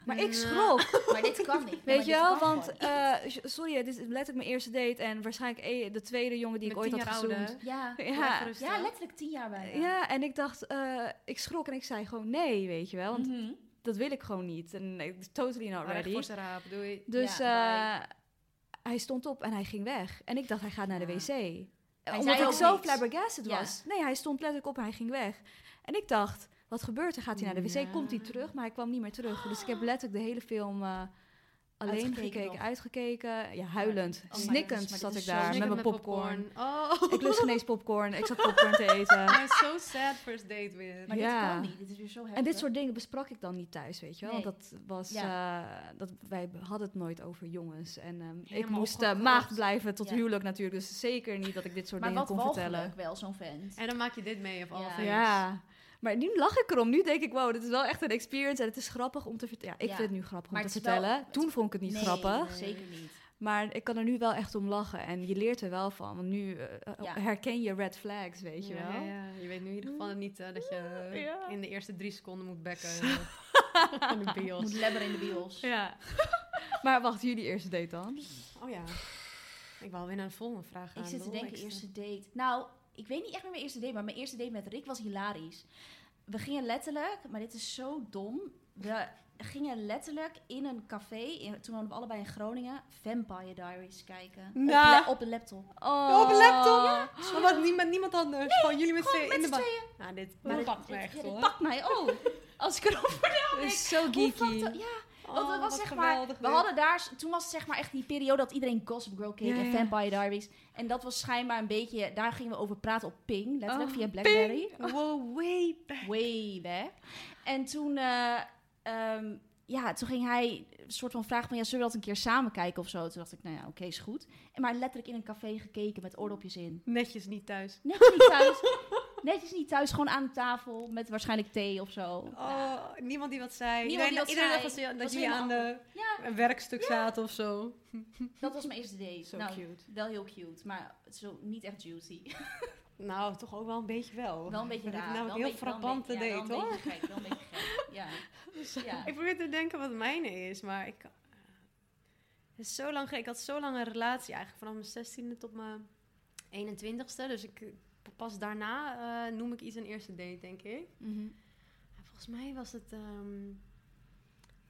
S4: Maar ik
S3: Nou.
S4: schrok,
S2: Maar dit kan niet. Nee, maar
S4: weet
S2: dit
S4: je wel?
S2: kan
S4: Want
S2: gewoon.
S4: eh, j- sorry, dit is letterlijk mijn eerste date... en waarschijnlijk eh, de tweede jongen die ik ooit had gezoend.
S2: Ja.
S4: Ja.
S2: ja, letterlijk tien jaar bijna.
S4: ja, en ik dacht... eh, ik schrok en ik zei gewoon nee, weet je wel. Want
S2: Mhm.
S4: dat wil ik gewoon niet. En eh, totally
S2: Oh
S4: not
S3: Recht
S4: ready.
S3: Oh, voor zijn raap, doei.
S4: Dus
S2: Ja,
S4: eh, hij stond op en hij ging weg. En ik dacht, hij gaat naar de
S3: Ja.
S4: wc. Eh, Omdat
S2: zei
S4: ik
S2: ook
S4: zo
S2: niks.
S4: flabbergasted
S2: Ja.
S4: was. Nee, hij stond letterlijk op en hij ging weg. En ik dacht, wat gebeurt er? Gaat hij naar de wc?
S3: Ja.
S4: Komt hij terug? Maar hij kwam niet meer terug. Dus ik heb letterlijk de hele film eh, alleen
S2: Uitgekeken
S4: gekeken,
S2: nog.
S4: uitgekeken. Ja, huilend.
S2: Oh my
S4: snikkend
S2: goodness, maar
S4: zat
S2: dit
S4: ik
S2: is
S4: daar
S2: zo
S4: met
S3: Snikken
S4: mijn popcorn. *laughs*
S3: Oh,
S4: ik lust geen eens popcorn. Ik zat popcorn
S2: *laughs*
S4: te eten.
S3: maar so sad first date weer.
S2: Maar
S4: Ja.
S2: dit kan niet. Dit is weer zo heftig.
S4: En dit soort dingen besprak ik dan niet thuis, weet je wel. Want dat was, eh, dat, wij hadden het nooit over jongens. En ehm, ik
S3: Helemaal
S4: moest eh,
S3: opgekropt.
S4: maagd blijven tot
S2: Ja.
S4: huwelijk natuurlijk. Dus zeker niet dat ik dit soort
S2: maar
S4: dingen
S2: wat
S4: kon vertellen.
S2: walgelijk wel, zo'n vent.
S3: En dan maak je dit mee of
S2: Ja.
S3: al
S4: Ja, maar nu lach ik erom. Nu denk ik, wow, dit is wel echt een experience. En het is grappig om te vertellen. Ja, ik
S2: Ja.
S4: vind het nu grappig om
S2: Maar
S4: te
S2: het is wel-
S4: vertellen. Toen vond ik het niet
S2: Nee,
S4: grappig.
S2: zeker niet.
S4: Maar ik kan er nu wel echt om lachen. En je leert er wel van. Want nu eh,
S2: Ja.
S4: herken je red flags, weet je
S3: Ja,
S4: wel.
S3: ja, ja. Je weet nu in ieder geval niet eh, dat je eh,
S4: Ja.
S3: in de eerste drie seconden moet
S4: *laughs*
S3: bekken. in de bios.
S2: Moet lebberen in de bios.
S4: Ja. maar wacht, jullie eerste date dan?
S3: Oh ja. Ik wou weer naar de volgende vraag gaan.
S2: Ik zit te
S3: lol,
S2: denken,
S3: ik-
S2: eerste date. Nou, ik weet niet echt meer mijn eerste date, maar mijn eerste date met Rick was hilarisch. We gingen letterlijk, maar dit is zo dom. We gingen letterlijk in een café, in, toen woonden we allebei in Groningen, Vampire Diaries kijken. Op
S3: Nou.
S2: la- Op, de laptop.
S4: Oh.
S3: Op een laptop? Maar wat, niemand, niemand anders? gewoon jullie met
S2: Gewoon
S3: z'n
S2: met
S3: in de
S2: z'n
S3: bak.
S2: tweeën.
S3: Nou, dit
S2: Maar dit-
S3: pakt
S2: dit-
S3: me echt
S2: ja, dit
S3: hoor.
S2: pakt mij ook.
S3: *laughs*
S2: Als ik erover
S4: Dat
S2: denk.
S4: is zo
S2: Hoe fucked
S4: geeky.
S2: up- Ja, want dat
S3: Oh,
S2: was
S3: wat
S2: zeg maar,
S3: geweldig
S2: we
S3: dit.
S2: hadden daar, s- toen was het zeg maar echt die periode dat iedereen Gossip Girl keek
S4: Ja,
S2: en
S4: ja.
S2: Vampire Diaries. En dat was schijnbaar een beetje, daar gingen we over praten op Ping, letterlijk
S4: Oh,
S2: via Blackberry.
S3: Wow, way back.
S2: way back. En toen, eh, ehm, ja, toen ging hij een soort van vragen van, ja, zullen we dat een keer samen kijken of zo? Toen dacht ik, nou ja, oké, is goed. En maar letterlijk in een café gekeken met oordopjes in.
S3: Netjes niet thuis.
S2: Netjes niet thuis. netjes niet thuis, gewoon aan de tafel met waarschijnlijk thee of zo.
S3: Oh, niemand die wat zei.
S2: Niemand
S3: iedereen
S2: die wat
S3: iedereen
S2: zei.
S3: dacht dat, ze- dat
S2: Was
S3: jullie aan
S2: helemaal
S3: de,
S2: Ja,
S3: een werkstuk zaten of zo.
S2: dat was mijn eerste date.
S4: Zo
S2: nou,
S4: cute.
S2: Wel heel cute, maar zo niet echt juicy.
S3: Nou, toch ook wel een beetje wel.
S2: Wel een beetje
S3: Oh. Ik
S2: raar.
S3: vind het
S2: wel
S3: namelijk
S2: een
S3: heel
S2: beetje- wel een
S3: frappante
S2: beetje- ja,
S3: date,
S2: wel een
S3: hoor.
S2: beetje gek, wel een beetje gek.
S3: *laughs*
S2: Ja. Ja.
S3: Ik probeer te denken wat het mijne is, maar ik... Het is zo lang, ge- ik had zo lang een relatie eigenlijk, vanaf mijn 16e tot mijn 21ste. Dus ik, pas daarna eh, noem ik iets een eerste date, denk ik.
S4: Mhm.
S3: Ja, Volgens mij was het ehm,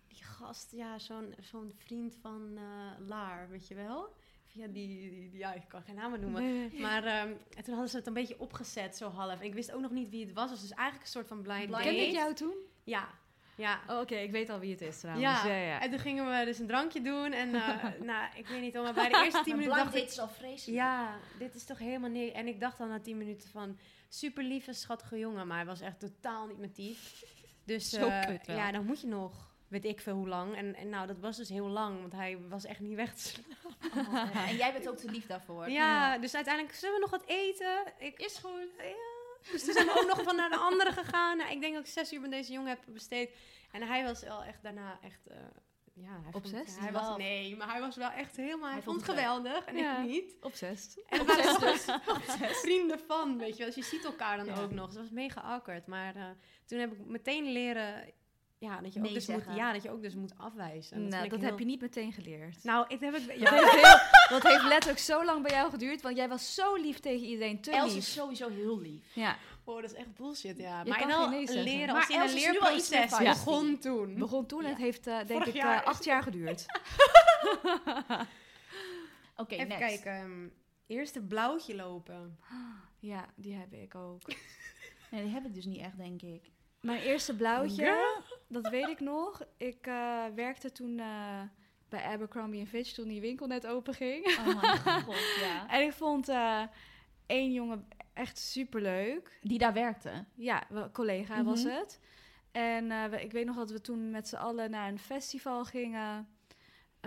S3: die gast, ja, zo'n zo'n vriend van eh, Laar, weet je wel? Via die, die, die- ja, ik kan geen namen noemen. Maar ehm, en toen hadden ze het een beetje opgezet, zo half. En ik wist ook nog niet wie het was, dus het is eigenlijk een soort van blind,
S2: Blind
S3: date.
S4: Kende ik jou toen?
S3: Ja, ja.
S4: Oh, Oké, ik weet al wie het is trouwens.
S3: Ja.
S4: Ja, ja.
S3: en toen gingen we dus een drankje doen. En
S4: *laughs*
S3: eh, nou, ik weet niet, hoor, maar bij de eerste tien
S2: Maar
S3: minuten
S2: blind
S3: dacht ik...
S2: dates is al vreselijk.
S3: Ja, dit is toch helemaal niks. En ik dacht al na tien minuten van... Super lieve, schattige jongen. Maar hij was echt totaal niet mijn type. Dus
S4: Zo
S3: eh,
S4: kut wel.
S3: ja, dan moet je nog... Weet ik veel hoe lang. En, en nou, dat was dus heel lang. Want hij was echt niet weg te slaan.
S2: Oh, *laughs* en jij bent ook te lief daarvoor.
S3: Ja, dus uiteindelijk zullen we nog wat eten. Ik,
S2: Is goed.
S3: ja. Dus toen zijn we ook nog van naar de andere gegaan. Nou, ik denk dat ik zes uur met deze jongen heb besteed. En hij was wel echt daarna echt... eh, ja, hij vond-
S4: Obsessed?
S3: Hij was,
S2: Love.
S3: nee, maar hij was wel echt helemaal... Hij,
S2: Hij
S3: vond
S2: vond
S3: het
S2: het leuk.
S3: geweldig en
S4: Ja.
S3: ik niet.
S4: *laughs* Obsessed.
S3: En we waren dus vrienden van, weet je wel. Dus je ziet elkaar dan ook nog. Dus dat was mega awkward. Maar eh, toen heb ik meteen leren... Ja, dat je, ook
S2: Nee
S3: dus moet,
S2: zeggen.
S3: ja, dat je ook dus moet afwijzen.
S4: Nou,
S3: vind
S4: dat
S3: ik
S4: heb
S3: heel-
S4: je niet meteen geleerd.
S3: Nou, ik heb ik...
S4: Dat
S3: Ja,
S4: heeft, heel- dat heeft letterlijk zo lang bij jou geduurd, want jij was zo lief tegen iedereen, te
S2: Els
S4: lief.
S2: is sowieso heel lief.
S4: Ja,
S3: oh, dat is echt bullshit, ja.
S4: Je
S3: maar
S4: kan
S3: en al
S4: geen nee zeggen.
S3: leren,
S2: Maar
S3: als in
S2: Els
S3: een
S2: is nu al iets meer
S3: leerproces
S2: feisty.
S3: begon toen.
S4: begon toen en het heeft eh, denk
S3: Vorig
S4: ik eh,
S3: jaar is
S4: acht jaar geduurd.
S2: Oké,
S3: Even
S2: next.
S3: kijken. ehm, eerst een blauwtje lopen.
S4: Ja, die heb ik ook.
S2: Nee, die heb ik dus niet echt, denk
S3: *laughs*
S2: ik.
S4: Mijn eerste blauwtje, dat weet ik nog. Ik eh, werkte toen eh, bij Abercrombie Fitch toen die winkel net open ging.
S2: Oh mijn god, ja.
S4: En ik vond eh, één jongen echt superleuk.
S2: Die daar werkte.
S4: Ja, wel- collega was
S2: Mhm.
S4: het. En eh, we- ik weet nog dat we toen met z'n allen naar een festival gingen. Eh,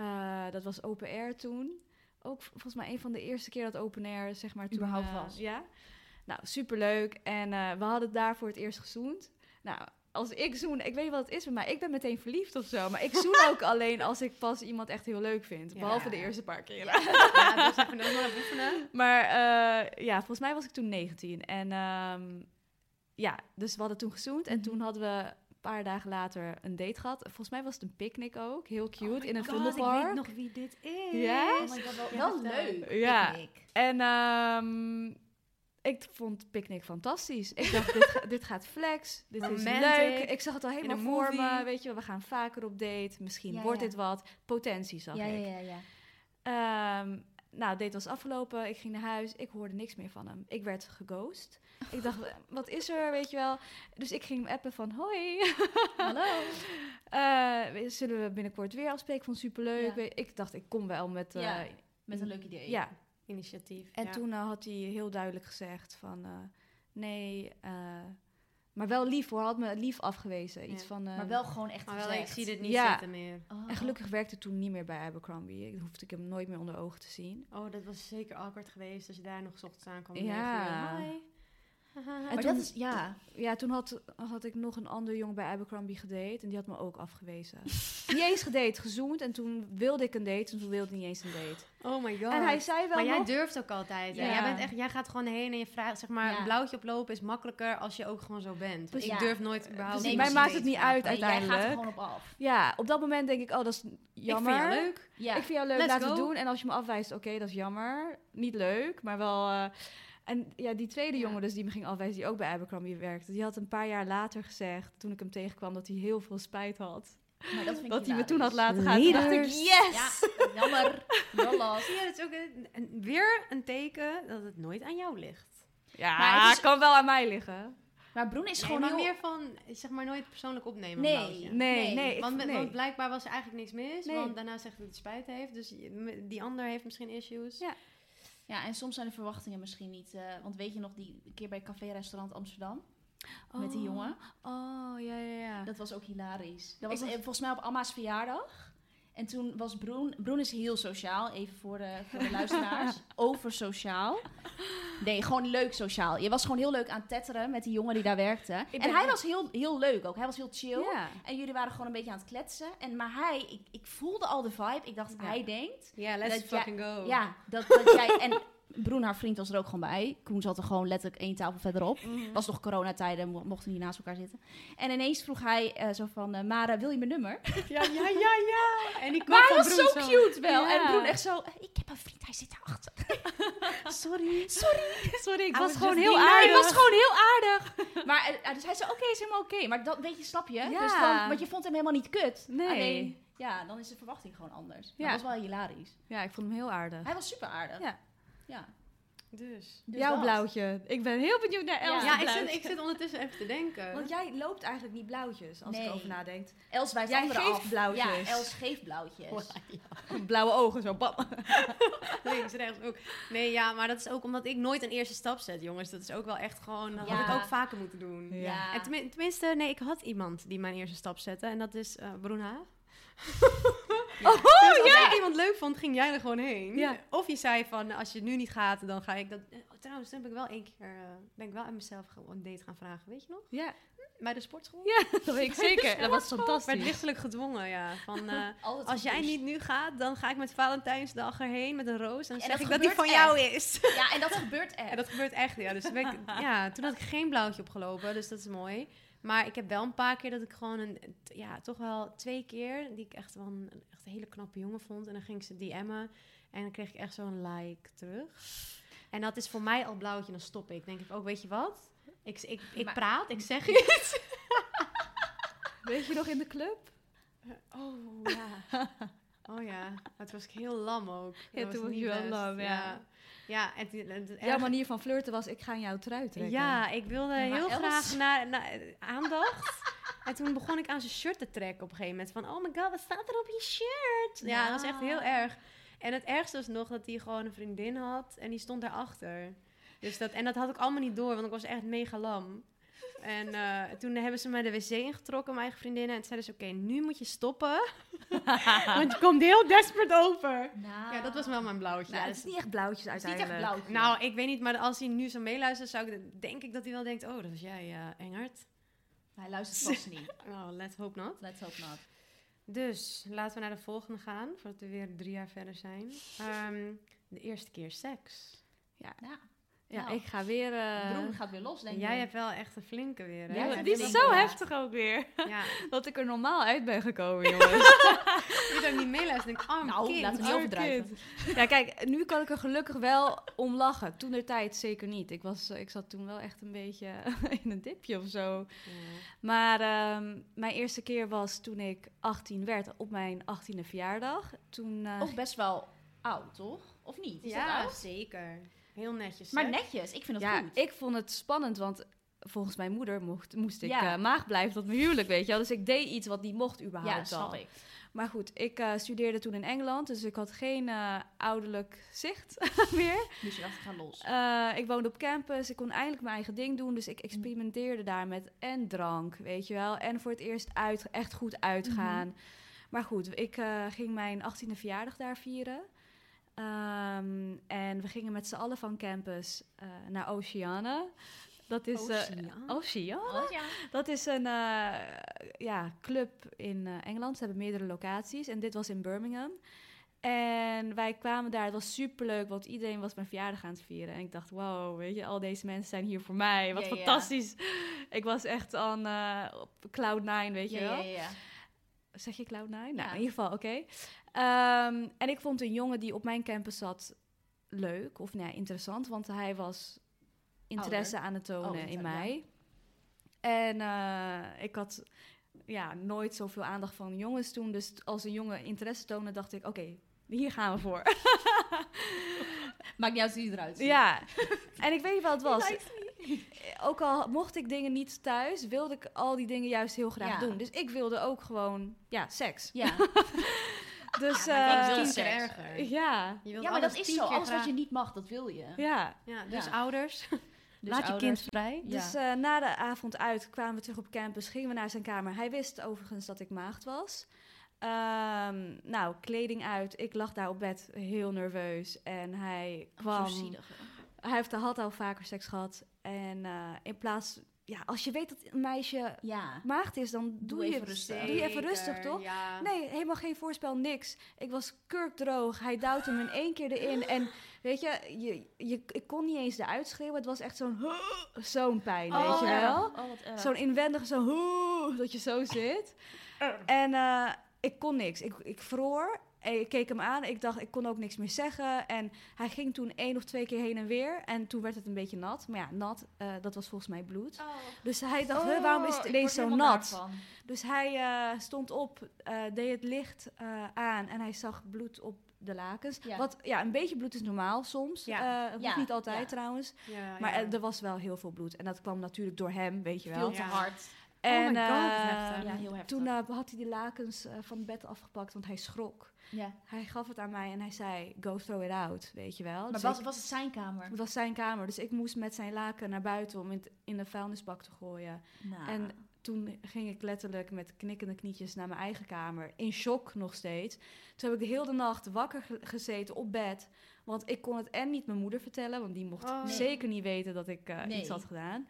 S4: Eh, dat was open air toen. Ook v- volgens mij een van de eerste keer dat open air, zeg maar, toen...
S2: Überhaupt
S4: eh,
S2: was.
S4: Ja. Nou, superleuk. En eh, we hadden daar voor het eerst gezoend. Nou, als ik zoen, ik weet niet wat het is met mij. Ik ben meteen verliefd of zo. Maar ik zoen
S2: *laughs*
S4: ook alleen als ik pas iemand echt heel leuk vind.
S3: Ja.
S4: Behalve de eerste paar keren.
S3: *laughs* Ja, dus even nog maar oefenen.
S4: Maar eh, ja, volgens mij was ik toen 19. En ehm, ja, dus we hadden toen gezoend.
S3: Mhm.
S4: En toen hadden we een paar dagen later een date gehad. Volgens mij was het een picknick ook. Heel cute, in een
S3: Oh ik weet
S4: vondelpark.
S3: nog wie dit is.
S4: Ja?
S2: Oh my god, wel,
S3: Ja, eh,
S2: wel
S3: vertel.
S2: leuk.
S4: Ja.
S2: Picnic.
S4: En ehm, ik vond picknick fantastisch. Ik dacht, dit, ga- dit gaat flex. Dit is
S3: Romantic.
S4: leuk. Ik zag het al helemaal
S3: een
S4: voor me.
S3: movie.
S4: Weet je wel, we gaan vaker op date. Misschien
S2: Ja,
S4: wordt
S2: ja.
S4: dit wat. Potentie zag
S2: Ja,
S4: ik.
S2: ja, ja, ja.
S4: Ehm, nou, date was afgelopen. Ik ging naar huis. Ik hoorde niks meer van hem. Ik werd geghost. Ik
S2: *laughs*
S4: dacht, eh, wat is er, weet je wel? Dus ik ging hem appen van, hoi.
S2: Hallo.
S4: Eh, we- zullen we binnenkort weer afspreken? Ik vond het superleuk.
S2: Ja.
S4: Ik dacht, ik kom wel met... eh,
S2: Ja, Met een leuk idee.
S4: ja.
S3: Initiatief.
S4: En
S3: ja.
S4: toen eh, had hij heel duidelijk gezegd van, eh, nee, eh, maar wel lief hoor. Hij had me lief afgewezen. Iets
S3: Ja.
S4: van... eh,
S2: Maar wel gewoon echt
S3: Maar wel, ik
S2: gezegd.
S3: zie dit niet
S4: Ja.
S3: zitten meer.
S2: Oh.
S4: En gelukkig werkte toen niet meer bij Abercrombie. Ik hoefde ik hem nooit meer onder ogen te zien.
S3: Oh, dat was zeker awkward geweest als je daar nog 's ochtends aan kwam.
S4: Ja.
S3: Hi. *laughs*
S4: En
S2: Maar
S4: toen-
S2: dat is, ja.
S4: Ja, toen had, had ik nog een ander jongen bij Abercrombie gedate. En die had me ook afgewezen. niet eens gedate, gezoend. En toen wilde ik een date. En toen wilde ik niet eens een date.
S3: Oh my god.
S4: En hij zei wel
S3: maar jij
S4: nog...
S3: durft ook altijd. hè?
S2: Ja.
S3: Jij, bent echt, jij gaat gewoon heen en je vraagt, zeg maar,
S2: Ja.
S3: een blauwtje oplopen is makkelijker als je ook gewoon zo bent. Want
S2: Precies.
S3: Ik durf nooit überhaupt...
S4: Dus
S2: Nee,
S4: mij
S2: precies.
S4: maakt het niet uit
S2: Nee, Jij gaat er
S4: uiteindelijk.
S2: gewoon op
S4: *laughs*
S2: af.
S4: Ja, op dat moment denk ik, oh, dat is jammer.
S3: Ik vind jou leuk.
S2: Ja.
S4: Ik vind jou leuk,
S3: Let's
S4: laten we
S3: go.
S4: doen. En als je me afwijst, oké, dat is jammer. Niet leuk, maar wel... eh, En ja, die tweede
S3: Ja.
S4: jongen dus die me ging afwijzen, die ook bij Abercrombie werkte... die had een paar jaar later gezegd, toen ik hem tegenkwam... dat hij heel veel spijt had.
S2: maar dat vind ik
S4: Dat hij me toen had
S2: hilarisch.
S4: laten gaan. Toen dacht ik,
S5: Leaders.
S4: yes!
S2: Ja, *laughs* jammer. Jollas.
S3: Zie je, dat is ook een- een- weer een teken dat het nooit aan jou ligt.
S4: Ja,
S2: Maar het is-
S4: kan wel aan mij liggen.
S2: Maar Broen is
S3: Nee,
S2: gewoon
S3: maar
S2: heel...
S3: meer van, zeg maar, nooit persoonlijk opnemen.
S2: Nee.
S3: een blauwtje.
S4: Nee,
S2: Nee,
S4: nee. ik-
S3: Want, met-
S4: nee.
S3: want blijkbaar was er eigenlijk niks mis.
S4: Nee.
S3: Want daarna zegt hij dat hij spijt heeft. Dus je- m- die ander heeft misschien issues.
S4: Ja.
S2: Ja, en soms zijn de verwachtingen misschien niet... eh, want weet je nog die keer bij Café Restaurant Amsterdam? Met die
S4: Oh.
S2: jongen?
S4: Oh, ja, ja, ja.
S2: Dat was ook hilarisch. Dat was,
S4: was-
S2: eh, volgens mij op Amma's verjaardag. En toen was Broen... Broen is heel sociaal, even voor de, voor de luisteraars.
S4: *laughs*
S2: Over sociaal. Nee, gewoon leuk sociaal. Je was gewoon heel leuk aan het tetteren met die jongen die daar werkte. En
S4: ben-
S2: hij was heel, heel leuk ook. Hij was heel chill.
S4: Ja.
S2: En jullie waren gewoon een beetje aan het kletsen. En, maar hij, ik, ik voelde al de vibe. Ik dacht,
S3: Ja.
S2: hij denkt...
S3: Ja, let's
S2: Dat jij-
S3: fucking go.
S2: Ja, dat, dat *laughs* jij... En Broen, haar vriend, was er ook gewoon bij. Koen zat er gewoon letterlijk één tafel verderop. Was nog coronatijden, mo- mochten niet naast elkaar zitten. En ineens vroeg hij eh, zo van... eh Mara, wil je mijn *laughs* nummer?
S3: Ja, ja, ja,
S2: *laughs*
S3: ja. En ik
S2: Maar hij was zo cute wel.
S4: Ja.
S2: En Broen echt zo... eh, Ik heb een vriend, hij zit daarachter.
S3: Sorry.
S4: Sorry, ik
S3: I
S4: was
S3: was
S4: gewoon
S3: just
S4: heel
S3: being nice.
S4: aardig.
S2: Hij was gewoon heel aardig. *laughs* Maar eh, dus hij zei, oké, is helemaal oké. Maar dat weet je, snap je?
S4: Ja.
S2: Dus dan, want je vond hem helemaal niet kut.
S4: Nee.
S2: Alleen, ja, dan is de verwachting gewoon anders.
S4: Ja.
S2: Dat was wel hilarisch.
S4: Ja, ik vond hem heel aardig.
S2: Hij was super aardig.
S4: Ja.
S2: ja.
S3: Dus.
S2: Dus
S4: Jouw
S2: dat.
S4: blauwtje. Ik ben heel benieuwd naar Els.
S2: Ja,
S3: Ja, ik zit, ik zit ondertussen even te denken.
S4: Want jij loopt eigenlijk niet blauwtjes, als ik
S2: Nee.
S4: erover nadenk.
S2: Els wijst
S4: Jij
S2: anderen
S4: geeft
S2: af.
S4: blauwtjes. Oh,
S2: Ja, Els geeft blauwtjes.
S4: *laughs* Blauwe ogen, zo bam.
S3: Links, rechts ook. Nee, ja, maar dat is ook omdat ik nooit een eerste stap zet, jongens. Dat is ook wel echt gewoon... Dat had
S2: Ja.
S3: ik ook vaker moeten doen.
S4: Ja.
S3: En tenmin- tenminste, nee, ik had iemand die mijn eerste stap zette. En dat is eh *laughs* Bruna.
S4: Oh,
S3: Dus als ik iemand leuk vond, ging jij er gewoon heen.
S4: Ja.
S3: Of je zei van, als je nu niet gaat, dan ga ik dat... eh, oh, trouwens, toen heb ik wel één keer... eh, ben ik wel aan mezelf ge- een date gaan vragen, weet je nog? Hm,
S4: Ja,
S3: Bij de sportschool?
S4: *laughs* ja, dat weet ik zeker. Dat was
S3: Werd
S4: fantastisch.
S3: lichtelijk gedwongen, ja. Van, *laughs* eh,
S2: Altijd
S3: als jij
S2: gepusht.
S3: niet nu gaat, dan ga ik met Valentijnsdag erheen met een roos. En dan
S2: En dat
S3: zeg ik dat die van
S2: gebeurt
S3: jou is.
S2: Ja,
S3: *laughs*
S2: en dat gebeurt echt.
S3: En dat gebeurt echt, ja. Dus toen
S4: *laughs*
S3: ben ik- ja, toen had ik geen blauwtje opgelopen, dus dat is mooi. Maar ik heb wel een paar keer dat ik gewoon een, t- ja, toch wel twee keer die ik echt wel een, een echt hele knappe jongen vond. En dan ging ik ze DM'en en dan kreeg ik echt zo'n like terug. En dat is voor mij al blauwtje, dan stop ik. Denk ik ook, weet je wat? Ik, ik, ik
S2: Maar-
S3: praat, ik
S4: *laughs*
S3: zeg iets.
S4: Weet je nog in de club?
S3: Oh ja. *laughs* Oh ja, Maar toen was ik heel lam ook. Dat
S4: toen was
S3: niet
S4: je wel
S3: best.
S4: lam, ja.
S3: Ja, Ja, en, toen- en, toen-
S4: Jouw manier van flirten was, ik ga in jouw trui trekken. Nou,
S3: Ja, ik wilde
S2: Ja, maar
S3: heel
S2: Els-
S3: graag naar, naar aandacht. *laughs* en toen begon ik aan zijn shirt te trekken op een gegeven moment. Van, oh my god, wat staat er op je shirt? Ja, dat was echt heel erg. En het ergste was nog dat hij gewoon een vriendin had en die stond daarachter. Dus dat, en dat had ik allemaal niet door, want ik was echt mega lam. En eh, toen hebben ze mij de wc ingetrokken, mijn eigen vriendinnen. En toen zeiden ze, oké, nu moet je stoppen. *laughs* want je komt heel desperate over.
S2: Nou,
S3: Ja, dat was wel mijn blauwtje.
S2: Nou,
S3: Ja,
S2: het is
S3: dus-
S2: niet echt blauwtjes
S3: het is niet
S2: uiteindelijk.
S3: echt blauw. Nou, ik weet niet, maar als hij nu zo meeluistert, zou ik, denk ik dat hij wel denkt... Oh, dat was jij, eh, Engert.
S2: Hij luistert vast
S3: *laughs*
S2: niet.
S3: Nou, let's hope not.
S2: Let's hope not.
S3: Dus, laten we naar de volgende gaan, voordat we weer drie jaar verder zijn. Ehm, de eerste keer seks.
S2: Ja,
S4: Ja,
S2: Nou.
S4: ik ga weer... eh,
S2: Broen gaat weer los, denk ik.
S3: Jij hebt wel echt een flinke weer, hè?
S2: Ja,
S4: Ja,
S2: ja,
S4: die
S2: dat
S4: is
S2: denk ik
S4: zo
S2: wel.
S4: heftig ook weer.
S3: Ja,
S4: *laughs* Dat ik er normaal uit ben *laughs* gekomen, jongens.
S3: die dan niet meeluistert, denk ik, arm
S2: Nou,
S3: kind, oh,
S2: laten we niet
S3: arm
S2: overdrijven.
S3: kind.
S4: ja, kijk, nu kan ik er gelukkig wel om lachen. Toen de tijd zeker niet. Ik, was, eh, ik zat toen wel echt een beetje *laughs* in een dipje of zo. Maar ehm, mijn eerste keer was toen ik 18 werd, op mijn 18e verjaardag. Toen, eh,
S2: Of best wel oud, toch? Of niet? Is dat
S3: Ja,
S2: oud?
S3: zeker. Heel netjes,
S2: Maar
S3: hè?
S2: netjes, ik vind het
S4: ja,
S2: goed.
S4: ik vond het spannend, want volgens mijn moeder mocht, moest ik
S2: Ja.
S4: eh, maag blijven tot mijn huwelijk, weet je wel. Dus ik deed iets wat niet mocht
S2: ja,
S4: überhaupt
S2: dat snap
S4: al.
S2: ik.
S4: Maar goed, ik eh, studeerde toen in Engeland, dus ik had geen eh, ouderlijk zicht *laughs* meer.
S2: Dus je dacht, ik ga los.
S4: Eh, ik woonde op campus, ik kon eindelijk mijn eigen ding doen. Dus ik experimenteerde daar met en drank, weet je wel. En voor het eerst uit, echt goed uitgaan. Maar goed, ik eh, ging mijn 18e verjaardag daar vieren. Ehm, en we gingen met z'n allen van campus eh, naar Oceana. Dat is...
S3: Oh,
S4: eh,
S3: Oceaan.
S4: Oceana?
S2: Oh, ja.
S4: Dat is een eh, ja, club in eh, Engeland. Ze hebben meerdere locaties. En dit was in Birmingham. En wij kwamen daar. Het was superleuk, want iedereen was mijn verjaardag aan het vieren. En ik dacht, wow, weet je, al deze mensen zijn hier voor mij. Wat
S2: Ja, ja.
S4: fantastisch. Ik was echt aan eh, op cloud nine, weet
S2: Ja,
S4: je wel.
S2: ja, ja.
S4: Zeg je cloud nine?
S2: Ja.
S4: Nou, in ieder geval, oké. Ehm, en ik vond een jongen die op mijn campus zat leuk. Of nou ja, interessant, want hij was interesse aan het tonen
S2: Ouder, Oh, ja.
S4: in mij. En eh, ik had ja, nooit zoveel aandacht van jongens toen. Dus t- als een jongen interesse toonde, dacht ik, oké, hier gaan we voor.
S2: Maakt niet uit hoe die eruit ziet.
S4: *laughs* ja, en ik weet niet wat het was. Eh, Ook al mocht ik dingen niet thuis, wilde ik al die dingen juist heel graag
S2: Ja.
S4: doen. Dus ik wilde ook gewoon, ja, seks.
S2: Ja.
S4: Dus,
S2: maar ik
S4: eh,
S2: wilde
S3: Tien keer
S2: seks.
S3: erger.
S4: ja.
S3: Je wilt
S2: ja, maar dat
S3: alles
S2: is
S3: tien
S2: zo.
S3: keer
S2: Alles wat
S3: graag.
S2: je niet mag, dat wil je.
S4: Ja,
S3: Ja, dus
S2: Ja.
S3: ouders.
S2: Dus
S6: Laat je
S2: ouders-
S6: kind vrij.
S2: Ja.
S4: dus eh, na de avond uit kwamen we terug op campus, gingen we naar zijn kamer. Hij wist overigens dat ik maagd was. Ehm, nou, kleding uit. Ik lag daar op bed heel nerveus. En hij kwam.
S2: Oh, Zo zielig.
S4: Hij heeft, had al vaker seks gehad. En eh, in plaats. Ja, als je weet dat een meisje
S2: Ja.
S4: maagd is, dan doe,
S2: Doe
S4: je
S2: even rustig.
S4: Doe je even rustig,
S3: Zeker,
S4: toch?
S3: Ja.
S4: Nee, helemaal geen voorspel, niks. Ik was kurkdroog. Hij duwt hem in één keer erin. En weet je, je, je ik kon niet eens eruit schreeuwen. Het was echt zo'n... Zo'n pijn,
S2: Oh,
S4: weet je
S2: erg.
S4: wel?
S2: Oh, wat erg.
S4: Zo'n e- inwendige zo'n... Dat je zo zit. En eh, ik kon niks. Ik, ik vroor. En Ik keek hem aan. Ik dacht, ik kon ook niks meer zeggen. En hij ging toen één of twee keer heen en weer. En toen werd het een beetje nat. Maar ja, nat, eh, dat was volgens mij
S2: Oh.
S4: bloed. Dus hij dacht, "Huh, waarom is het ineens zo nat? Dus hij eh, stond op, eh, deed het licht eh, aan en hij zag bloed op de lakens.
S2: Ja.
S4: Wat, ja, een beetje bloed is normaal soms.
S3: Ja.
S4: Ja. hoeft
S2: Ja,
S4: niet altijd
S2: ja. Oh,
S4: trouwens.
S3: Ja,
S4: Maar
S3: ja.
S4: eh, er was wel heel veel bloed. En dat kwam natuurlijk door hem, weet je wel.
S2: Veel te
S3: Ja.
S2: hard.
S4: En,
S3: my God, wat
S4: eh,
S3: heftig.
S2: Ja, heel Oh heftig.
S4: toen eh, had hij de lakens eh, van het bed afgepakt, want hij schrok.
S2: ja.
S4: Hij gaf het aan mij en hij zei, go throw it out, weet je wel.
S2: Maar
S4: Dus
S2: was,
S4: ik-
S2: was het zijn kamer?
S4: het was zijn kamer, dus ik moest met zijn laken naar buiten om in, het- in de vuilnisbak te gooien.
S2: Nou.
S3: Ah.
S4: En toen ging ik letterlijk met knikkende knietjes naar mijn eigen kamer. In shock nog steeds. Toen heb ik de hele nacht wakker ge- gezeten op bed. Want ik kon het en niet mijn moeder vertellen. Want die mocht
S3: Oh. Nee.
S4: zeker niet weten dat ik eh,
S2: Nee.
S4: iets had gedaan.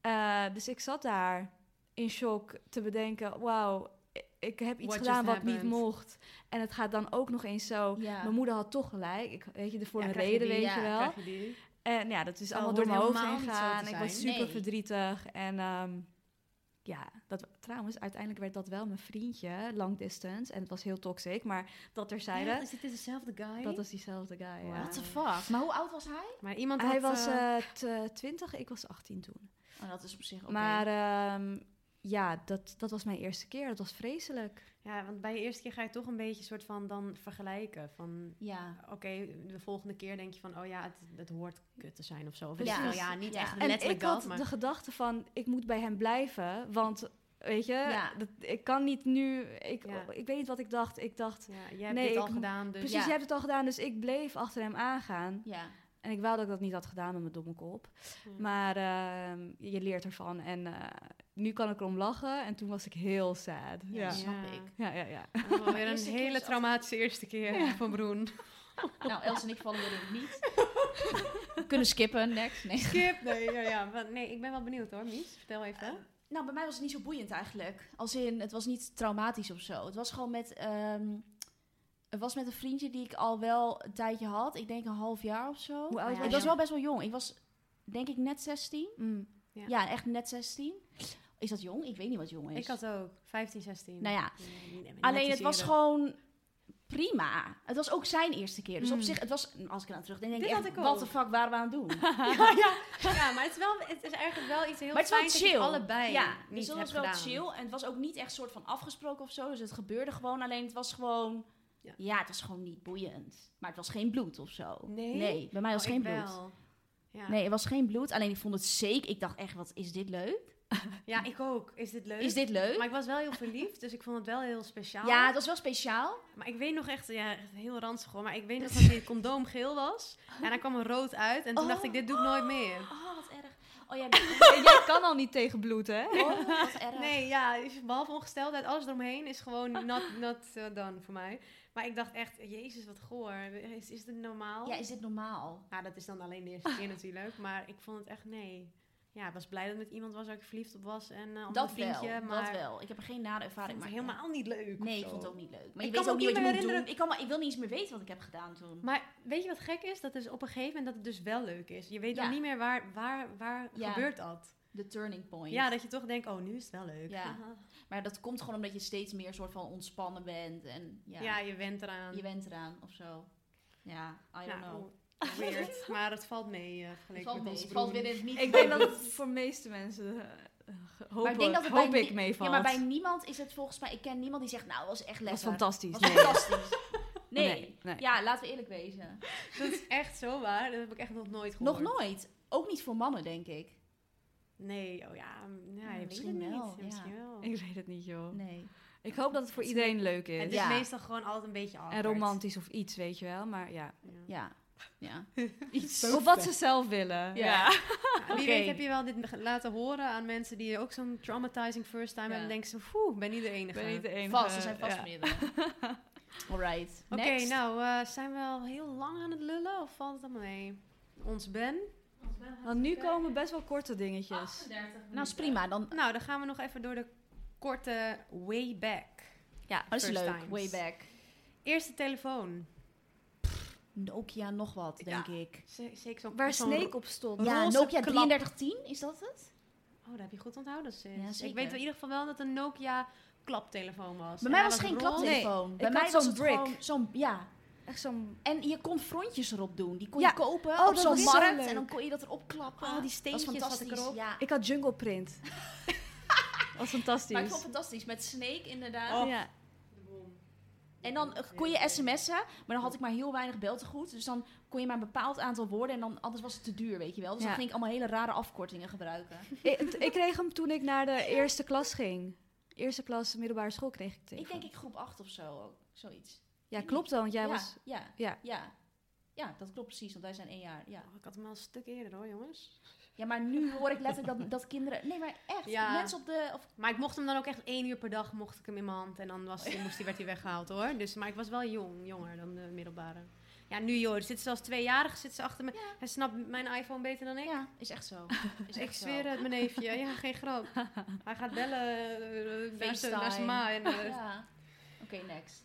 S4: Eh, dus ik zat daar in shock te bedenken... Wauw, i- ik heb iets
S3: What
S4: gedaan wat
S3: just
S4: niet
S3: happened?
S4: mocht. En het gaat dan ook nog eens zo...
S2: Ja.
S4: Mijn moeder had toch gelijk. Ik, weet je, voor
S3: Ja,
S4: een
S3: krijg je
S4: reden,
S3: die-
S4: weet
S2: ja,
S4: je wel.
S3: Krijg je die?
S4: En ja, dat is
S3: Terwijl
S4: allemaal door mijn
S3: hoort
S4: hoofd
S3: helemaal
S4: heen
S3: niet zo
S4: gegaan.
S3: te
S4: Ik was
S3: zijn.
S4: super
S2: Nee.
S4: verdrietig. En ehm, ja, dat, trouwens, uiteindelijk werd dat wel mijn vriendje, long distance. En het was heel toxic, maar dat
S3: Echt?
S4: terzijde.
S3: Is dit dezelfde guy?
S4: Dat is diezelfde guy, ja.
S2: What the fuck? Maar hoe oud was hij?
S3: Maar iemand
S4: Hij
S3: had,
S4: was
S3: eh,
S4: eh, t- eh, 20, ik was 18 toen.
S2: Oh, dat is op zich oké.
S4: Maar ehm, ja, dat, dat was mijn eerste keer. Dat was vreselijk.
S3: Ja, want bij je eerste keer ga je toch een beetje soort van dan vergelijken. Van
S2: Ja.
S3: oké, de volgende keer denk je van oh ja, het, het hoort kut te zijn of zo. Of
S2: Ja.
S3: ja. ja, niet
S2: Ja.
S3: echt
S4: En
S3: letterlijk
S4: ik had
S3: dat, maar
S4: de gedachte van, ik moet bij hem blijven, want... Weet je,
S2: Ja.
S4: dat, ik kan niet nu. Ik,
S3: Ja.
S4: ik weet niet wat ik dacht. Ik dacht,
S3: ja, jij hebt
S4: Nee,
S3: dit al
S4: ik mo-
S3: *laughs* gedaan, dus
S4: Precies,
S2: Ja.
S4: je hebt het al gedaan, dus ik bleef achter hem aangaan.
S2: Ja.
S4: En ik wou dat ik dat niet had gedaan met mijn domme kop.
S3: Hmm.
S4: Maar ehm, je leert ervan. En eh, nu kan ik erom lachen. En toen was ik heel sad.
S2: Ja,
S4: Ja,
S2: snap
S3: Ja.
S2: ik.
S4: ja, ja.
S2: *laughs*
S4: ja.
S3: Oh, weer een
S2: Eerste keer is
S3: hele
S2: af-
S3: traumatische eerste keer van
S2: *laughs*
S3: Broen.
S2: Nou, Els en ik vallen erin
S4: *laughs*
S2: niet. We kunnen skippen, next. Nee.
S3: Skip. Nee, ja, ja. maar nee, ik ben wel benieuwd hoor, Mies. Vertel even.
S2: Nou, bij mij was het niet zo boeiend eigenlijk. Als in, het was niet traumatisch of zo. Het was gewoon met, ehm, het was met een vriendje die ik al wel een tijdje had. Ik denk een half jaar of zo.
S4: Hoe oud
S2: ik
S3: ja,
S4: was
S2: was
S4: je?
S2: wel best wel jong. Ik was denk ik net 16.
S4: Mm.
S3: Ja.
S2: Ja, echt net 16. Is dat jong? Ik weet niet wat jong is.
S3: Ik had ook 15, 16.
S2: Nou ja,
S3: Nee, net
S2: Alleen
S3: iets
S2: het was
S3: eerder.
S2: gewoon prima. Het was ook zijn eerste keer. Dus op
S3: Mm.
S2: zich, het was, als ik eraan terugdenk, denk
S3: Dit
S2: ik
S3: had
S2: echt,
S3: ik ook.
S2: wat de fuck waren we aan het doen?
S3: *laughs* ja, ja. ja, maar het is, wel, het is eigenlijk wel iets heel
S2: maar het was wel
S3: fijn dat je
S2: chill.
S3: allebei
S2: ja,
S3: niet
S2: dus dat
S3: hebt
S2: was wel
S3: gedaan. Oh,
S2: chill. En het was ook niet echt soort van afgesproken of zo. Dus het gebeurde gewoon. Alleen het was gewoon...
S3: Ja.
S2: Ja, het was gewoon niet boeiend. Maar het was geen bloed of zo.
S3: Nee?
S2: bij mij was
S3: Oh,
S2: geen
S3: ik
S2: bloed.
S3: wel. Ja.
S2: Nee, het was geen bloed. Alleen ik vond het zeker. Ik dacht echt, wat is dit leuk?
S3: ja, ik ook. Is dit leuk?
S2: Is dit leuk?
S3: Maar ik was wel heel verliefd, dus ik vond het wel heel speciaal.
S2: Ja, het was wel speciaal.
S3: Maar ik weet nog echt, ja, echt heel ranzig hoor. Maar
S2: *laughs*
S3: ik weet nog dat die condoom geel was. En daar kwam een rood uit. En toen
S2: Oh.
S3: dacht ik, dit doe ik nooit meer.
S2: Oh, wat erg. Oh
S3: *laughs*
S2: ja,
S4: En jij kan al niet tegen bloed, hè?
S2: oh, wat erg.
S3: Nee, ja, is- behalve ongesteldheid, alles eromheen is
S2: *laughs*
S3: gewoon not, not eh, done voor mij. Maar ik dacht echt, jezus, wat goor. Is, is dit normaal?
S2: Ja, is dit normaal?
S3: Ja, dat is dan alleen de eerste keer *laughs* natuurlijk. Maar ik vond het echt nee. Ja, ik was blij dat het met iemand was waar ik verliefd op was. En eh, op
S2: Dat
S3: een vriendje.
S2: wel, dat
S3: maar
S2: wel. Ik heb er geen nare
S3: Ik
S2: ervaring
S3: vond het
S2: maar-
S3: helemaal niet leuk. of
S2: Nee, ik
S3: zo.
S2: vond het ook niet leuk. Maar je
S3: Ik
S2: weet
S3: kan me
S2: ook niet wat je
S3: ook niet meer
S2: moet
S3: herinneren-
S2: doen. Ik, kan me, ik wil niet eens meer weten wat ik heb gedaan toen.
S3: Maar weet je wat gek is? Dat is op een gegeven moment dat het dus wel leuk is. Je weet
S2: Ja.
S3: dan niet meer waar, waar, waar
S2: Ja.
S3: gebeurt dat.
S2: De turning point.
S3: Ja, dat je toch denkt, oh, nu is het wel leuk.
S2: Ja. Maar dat komt gewoon omdat je steeds meer soort van ontspannen bent. En ja,
S3: Ja. je went eraan.
S2: je bent eraan of zo. Ja, I don't
S3: Nou,
S2: know.
S3: oh,
S2: *laughs*
S3: weird. maar het valt mee eh,
S2: Het
S3: vergeleken
S2: valt
S3: met
S2: mee.
S3: ons
S2: Het valt
S3: broer.
S2: binnen het niet.
S4: Ik denk dat het voor meeste mensen eh, hoop,
S2: Maar ik denk dat het
S4: hoop
S2: bij
S4: ik
S2: nie-
S4: meevalt.
S2: Ja, maar bij niemand is het volgens mij... Ik ken niemand die zegt, nou, het was echt
S4: dat
S2: lekker.
S4: is fantastisch.
S2: Was
S4: Nee. *laughs*
S2: fantastisch. Nee.
S4: Nee, nee.
S2: Ja, laten we eerlijk wezen.
S3: Dat is echt zo waar. Dat heb ik echt nog nooit gehoord.
S2: Nog nooit. Ook niet voor mannen, denk ik.
S3: Nee, oh ja. mm, ja,
S2: Ja,
S3: je weet
S2: misschien
S3: het
S2: wel,
S3: niet.
S2: ja.
S3: Misschien wel.
S4: Ik weet het niet, joh.
S2: Nee.
S4: Ik hoop dat het voor
S3: is
S4: iedereen leuk
S3: Het
S4: is.
S3: is
S2: Ja.
S3: meestal gewoon altijd een beetje
S4: En
S3: awkward.
S4: romantisch of iets, weet je wel. Maar ja.
S3: Ja.
S2: Ja. Ja.
S4: Iets. Of wat ze zelf
S2: Ja.
S4: willen.
S3: Ja, Wie
S4: Oké.
S3: weet heb je wel dit ge- laten horen aan mensen die ook zo'n traumatizing first time
S2: Ja.
S3: hebben. En denken ze, poeh, ik ben niet de
S4: Ik
S3: enige.
S4: ben niet de enige.
S2: Vast, er zijn vast
S4: Ja.
S2: meerdere. Alright.
S3: Oké,
S2: next.
S3: nou, eh, zijn we al heel lang aan het lullen of valt het allemaal mee? Ons Ben.
S4: Want nu komen best wel korte dingetjes.
S2: Nou, is prima. Dan,
S3: Nou, dan gaan we nog even door de korte way back.
S2: ja, oh, dat is
S3: first
S2: leuk.
S3: times.
S2: Way back.
S3: Eerste telefoon.
S2: Nokia nog wat, denk ik.
S3: Ze- Zeker zo'n
S4: Waar
S3: zo'n-
S4: Snake op stond.
S3: Een
S2: Ja,
S3: roze
S2: Nokia
S3: klap.
S2: 3310, is dat het?
S3: Oh, dat heb je goed onthouden, sis.
S2: Ja,
S3: ik
S2: zeker.
S3: weet in ieder geval wel dat een Nokia klaptelefoon was.
S2: Bij
S3: En
S2: mij
S3: hij
S2: was geen
S3: roze.
S2: klaptelefoon.
S4: Nee,
S2: Bij
S4: ik
S2: mij
S4: had
S2: was
S4: zo'n
S2: het
S4: brick.
S2: gewoon zo'n ja.
S4: Echt zo'n...
S2: En je kon frontjes erop doen. Die kon
S4: Ja.
S2: je kopen
S4: Oh,
S2: op
S4: dat
S2: zo'n
S4: was zo
S2: markt
S4: leuk.
S2: en dan kon je dat erop klappen.
S3: Oh, die
S2: Dat was
S3: steentjes had ik
S2: fantastisch,
S3: erop.
S2: Ja.
S4: Ik had Jungle Print. was
S2: Maar ik vond
S4: fantastisch.
S2: het fantastisch. Met Snake inderdaad.
S4: Ja.
S2: En dan eh, kon je sms'en, maar dan had ik maar heel weinig beltegoed. Dus dan kon je maar een bepaald aantal woorden en dan, anders was het te duur, weet je wel. Dus
S4: Ja.
S2: dan ging ik allemaal hele rare afkortingen gebruiken.
S4: ik, ik kreeg hem toen ik naar de eerste klas ging. Eerste klas middelbare school kreeg ik tegen.
S2: Ik denk ik groep 8 of zo, ook, zoiets.
S4: Ja, klopt dan, want jij
S2: ja,
S4: was...
S2: ja,
S4: ja.
S2: ja, ja. dat klopt precies, want wij zijn één jaar. Ja,
S3: Oh, ik had hem al een stuk eerder hoor, jongens.
S2: ja maar nu hoor ik letterlijk dat, dat kinderen... Nee, maar echt,
S3: Ja.
S2: mensen op de... Of,
S3: Maar ik mocht hem dan ook echt één uur per dag mocht ik hem in mijn hand. En dan
S2: *laughs*
S3: was die, moest die, werd hij weggehaald hoor. Dus, maar ik was wel jong, jonger dan de middelbare. Ja, nu joh, er zitten zelfs tweejarigen zitten ze achter me. Hij snapt mijn iPhone beter dan ik. Dus
S2: ja, is echt *laughs* zo. Is
S3: ik
S2: echt zo.
S3: zweer het, mijn neefje. Ja, geen
S2: *laughs*
S3: grap. Hij gaat bellen eh, eh, naar zijn- naar zijn ma. En, eh, ja.
S2: Ja. Oké, next.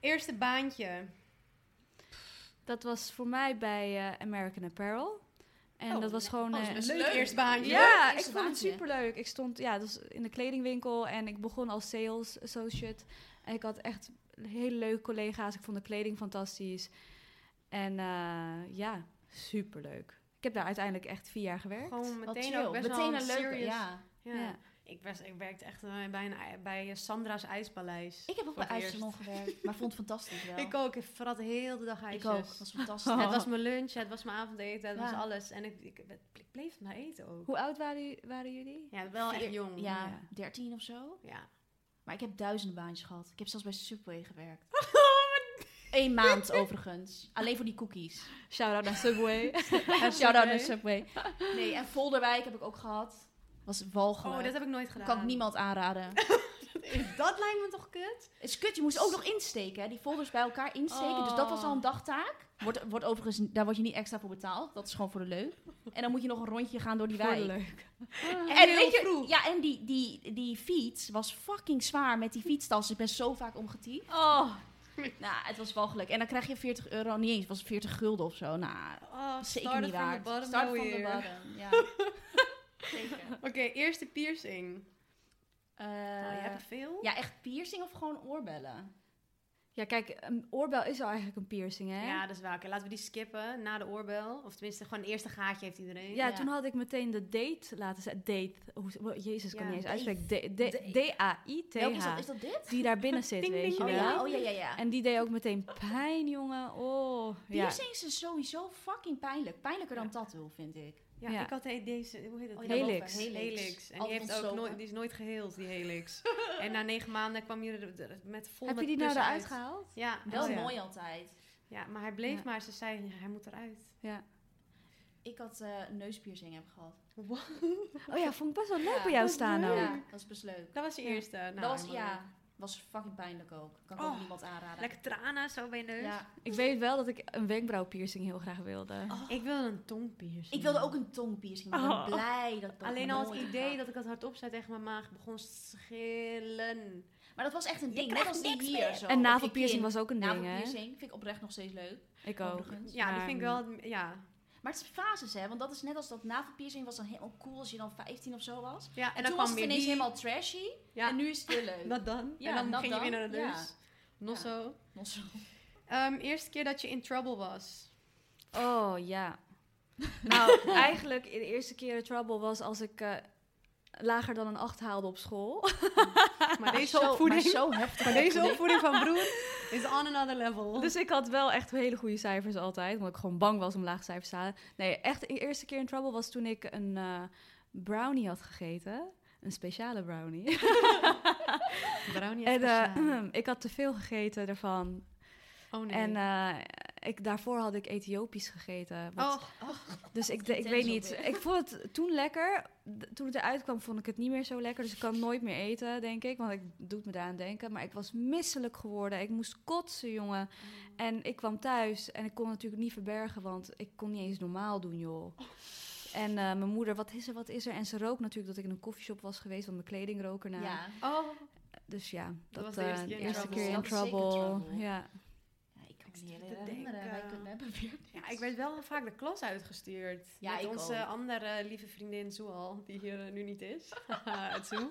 S3: eerste baantje.
S4: Dat was voor mij bij eh, American Apparel. En
S3: Oh,
S4: dat was
S2: le-
S4: gewoon...
S2: oh, dat
S4: eh,
S2: is
S3: Leuk,
S2: Leuk.
S3: eerste baantje.
S4: Ja,
S2: Leuk
S4: ik
S2: eerste
S4: vond het
S2: baantje.
S4: superleuk. Ik stond ja, dat was in de kledingwinkel en ik begon als sales associate. En ik had echt hele leuke collega's. Ik vond de kleding fantastisch. En eh, ja, superleuk. Ik heb daar uiteindelijk echt vier jaar gewerkt.
S3: Gewoon
S2: Wat
S3: meteen
S2: chill.
S3: ook best
S2: Meteen
S3: wel
S2: een leuke,
S3: serious.
S2: ja.
S3: Ja.
S4: Ja.
S3: Ik, was, ik werkte echt eh, bij, een, bij Sandra's IJspaleis.
S2: Ik heb ook
S3: Voor
S2: bij
S3: het eerst.
S2: IJsselon gewerkt, maar vond het fantastisch wel.
S3: *laughs* Ik ook. Ik verrat heel de dag
S2: Ik
S3: ijsjes.
S2: ook, het was
S3: *laughs*
S2: fantastisch. *laughs*
S3: Ja, het was mijn lunch, het was mijn avondeten, het
S2: Ja.
S3: was alles. En ik, ik, ik bleef het maar eten ook.
S4: Hoe oud waren, waren jullie?
S3: Ja, wel echt
S2: Vier-
S4: Oh.
S3: jong.
S2: Ja,
S4: ja.
S2: 13 of zo.
S3: Ja.
S2: Maar ik heb duizenden baantjes gehad. Ik heb zelfs bij Subway gewerkt. één maand overigens. Alleen voor die cookies.
S4: *laughs* Shout-out naar Subway.
S2: En shout-out naar Subway. Nee, en Volderwijk heb ik ook gehad. Was walgelijk.
S3: *laughs* Oh, dat heb ik nooit gedaan.
S2: kan ik niemand aanraden.
S3: Dat lijkt me toch kut?
S2: Het is kut, je moest ook nog insteken. Hè? Die folders bij elkaar insteken. Dus dat was al een dagtaak. Wordt, wordt overigens, daar word je niet extra voor betaald. Dat is gewoon voor de leuk. En dan moet je nog een rondje gaan door die
S4: Voor
S2: wei.
S4: de leuk.
S2: En weet je, ja, en die, die, die fiets was fucking zwaar met die fietstas. Ik ben zo vaak omgetiefd.
S4: Oh,
S2: Nou, het was wel geluk. En dan krijg je 40 euro, niet eens, het was 40 gulden of zo. Nou,
S3: Oh,
S2: zeker niet waar. Start van de bottom, ja. zeker.
S3: Oké, eerste piercing.
S2: Eh,
S3: nou, je hebt er veel.
S2: ja, echt piercing of gewoon oorbellen?
S4: Ja, kijk, een oorbel is al eigenlijk een piercing, hè?
S3: Ja, dat is waar. Oké, laten we die skippen na de oorbel. Of tenminste, gewoon het eerste gaatje heeft iedereen.
S4: Ja,
S2: Ja.
S4: toen had ik meteen de date laten zetten. Date. Hoe, wo- Jezus, ik kan
S3: Ja,
S4: niet eens
S2: date.
S4: uitspreken. D- D-
S2: Date. Welke is dat?
S4: D-A-I-T-H.
S2: Is dat dit?
S4: Die daar binnen zit,
S3: Ding,
S4: weet
S3: ding,
S4: je
S2: Oh
S4: wel.
S2: ja, oh ja, ja, ja.
S4: En die deed ook meteen pijn, jongen. Oh, ja.
S2: Piercings is dus sowieso fucking pijnlijk. Pijnlijker dan tattoo, vind ik.
S3: Ja,
S4: Ja.
S3: ik had de- deze, hoe heet dat?
S2: Oh,
S4: die Helix.
S2: daarboven, Helix.
S3: En die,
S2: Altijd
S3: heeft ook
S2: ontstoken.
S3: nooit, die is nooit geheeld, die helix. en na negen maanden kwam je er- er met vol
S4: Heb
S3: met
S4: je die nou
S3: kussen
S4: eruit
S3: uit.
S4: gehaald?
S3: Ja,
S2: Wel
S3: oh ja.
S2: mooi altijd.
S3: Ja, maar hij bleef
S4: Ja.
S3: maar. Ze zei, hij moet eruit.
S4: Ja.
S2: Ik had eh neuspiercing heb gehad.
S4: Oh ja, vond ik best wel leuk
S2: Ja.
S4: bij jou
S3: Wat
S4: staan
S3: leuk.
S4: ook.
S2: Ja, dat is best leuk.
S3: Dat was je eerste. Nou,
S2: dat was,
S3: helemaal
S2: ja,
S3: leuk.
S2: was fucking pijnlijk ook. Kan ik
S3: Oh,
S2: ook niemand aanraden.
S3: Lekker tranen zo bij je neus.
S2: Ja.
S4: Ik weet wel dat ik een wenkbrauwpiercing heel graag wilde.
S2: Oh,
S3: Ik wilde een tongpiercing.
S2: ik wilde ook een tongpiercing, maar ik ben
S4: Oh.
S2: blij dat ik dat
S3: Alleen al het
S2: nooit heb
S3: idee
S2: gehad.
S3: dat ik dat hardop zei tegen mijn maag begon schillen.
S2: Maar dat was echt een
S3: Je
S2: ding, net
S3: krijgt
S2: als die
S3: niks
S2: hier
S3: meer.
S2: zo.
S4: en navelpiercing was ook een ding, hè?
S2: Navelpiercing vind ik oprecht nog steeds leuk,
S4: Ik ook.
S2: overigens.
S3: Ja, die
S4: Maar,
S3: vind ik wel... het- Ja.
S2: Maar het is fases, hè? Want dat is net als dat navelpiercing was dan helemaal cool als je dan 15 of zo was.
S3: ja
S2: En,
S3: dan
S2: toen
S3: kwam
S2: was het
S3: weer
S2: ineens
S3: die.
S2: helemaal trashy.
S3: Ja.
S2: En nu is het weer leuk.
S3: Dat *laughs* dan.
S2: Ja,
S3: en dan
S2: dat
S3: ging je weer
S2: dan.
S3: naar de
S2: Ja.
S3: lus. Nog
S2: Ja.
S3: zo.
S2: Nog zo.
S3: Ehm, eerste keer dat je in trouble
S2: *laughs*
S3: was.
S4: Oh ja. Nou, eigenlijk de eerste keer de trouble was als ik eh, lager dan een 8 haalde op school.
S3: Maar deze
S2: zo, maar
S3: opvoeding...
S2: zo heftig.
S3: Maar deze opvoeding
S2: *laughs*
S3: van broer is on another level.
S4: Dus ik had wel echt hele goede cijfers altijd, omdat ik gewoon bang was om lage cijfers te halen. Nee, echt de eerste keer in trouble was toen ik een eh, brownie had gegeten. Een speciale brownie.
S3: Brownie
S4: en eh,
S3: speciaal.
S4: *clears throat* ik had te veel gegeten daarvan.
S3: Oh nee.
S4: En eh, ik, daarvoor had ik Ethiopisch gegeten. wat-
S3: oh,
S4: Dus ik, de- ik weet
S2: Intense
S4: niet.
S2: op weer.
S4: Ik vond het toen lekker. D- Toen het eruit kwam, vond ik het niet meer zo lekker. Dus ik kan het nooit meer eten, denk ik. Want ik doet me daaraan denken. Maar ik was misselijk geworden. Ik moest kotsen, jongen. En ik kwam thuis en ik kon het natuurlijk niet verbergen, want ik kon niet eens normaal doen, joh. En eh, mijn moeder, wat is er, wat is er? En ze rook natuurlijk dat ik in een koffieshop was geweest, want mijn kleding rook erna.
S2: Ja.
S3: oh.
S4: Dus ja, dat,
S3: was de eerste
S4: eh,
S3: keer in trouble.
S4: keer in
S2: Dat is zeker
S4: trouble.
S2: trouble.
S4: Ja.
S2: Ja, ik kan
S3: Ik
S2: me
S3: zit
S2: niet
S3: te
S2: herinneren.
S3: denken.
S2: Wij kunnen we hebben weer.
S3: Ja, ik werd wel vaak de klas uitgestuurd.
S2: Ja,
S3: met
S2: ik
S3: onze
S2: ook.
S3: andere lieve vriendin Zoal, die hier eh, nu niet is. *laughs* Haha, Zoe.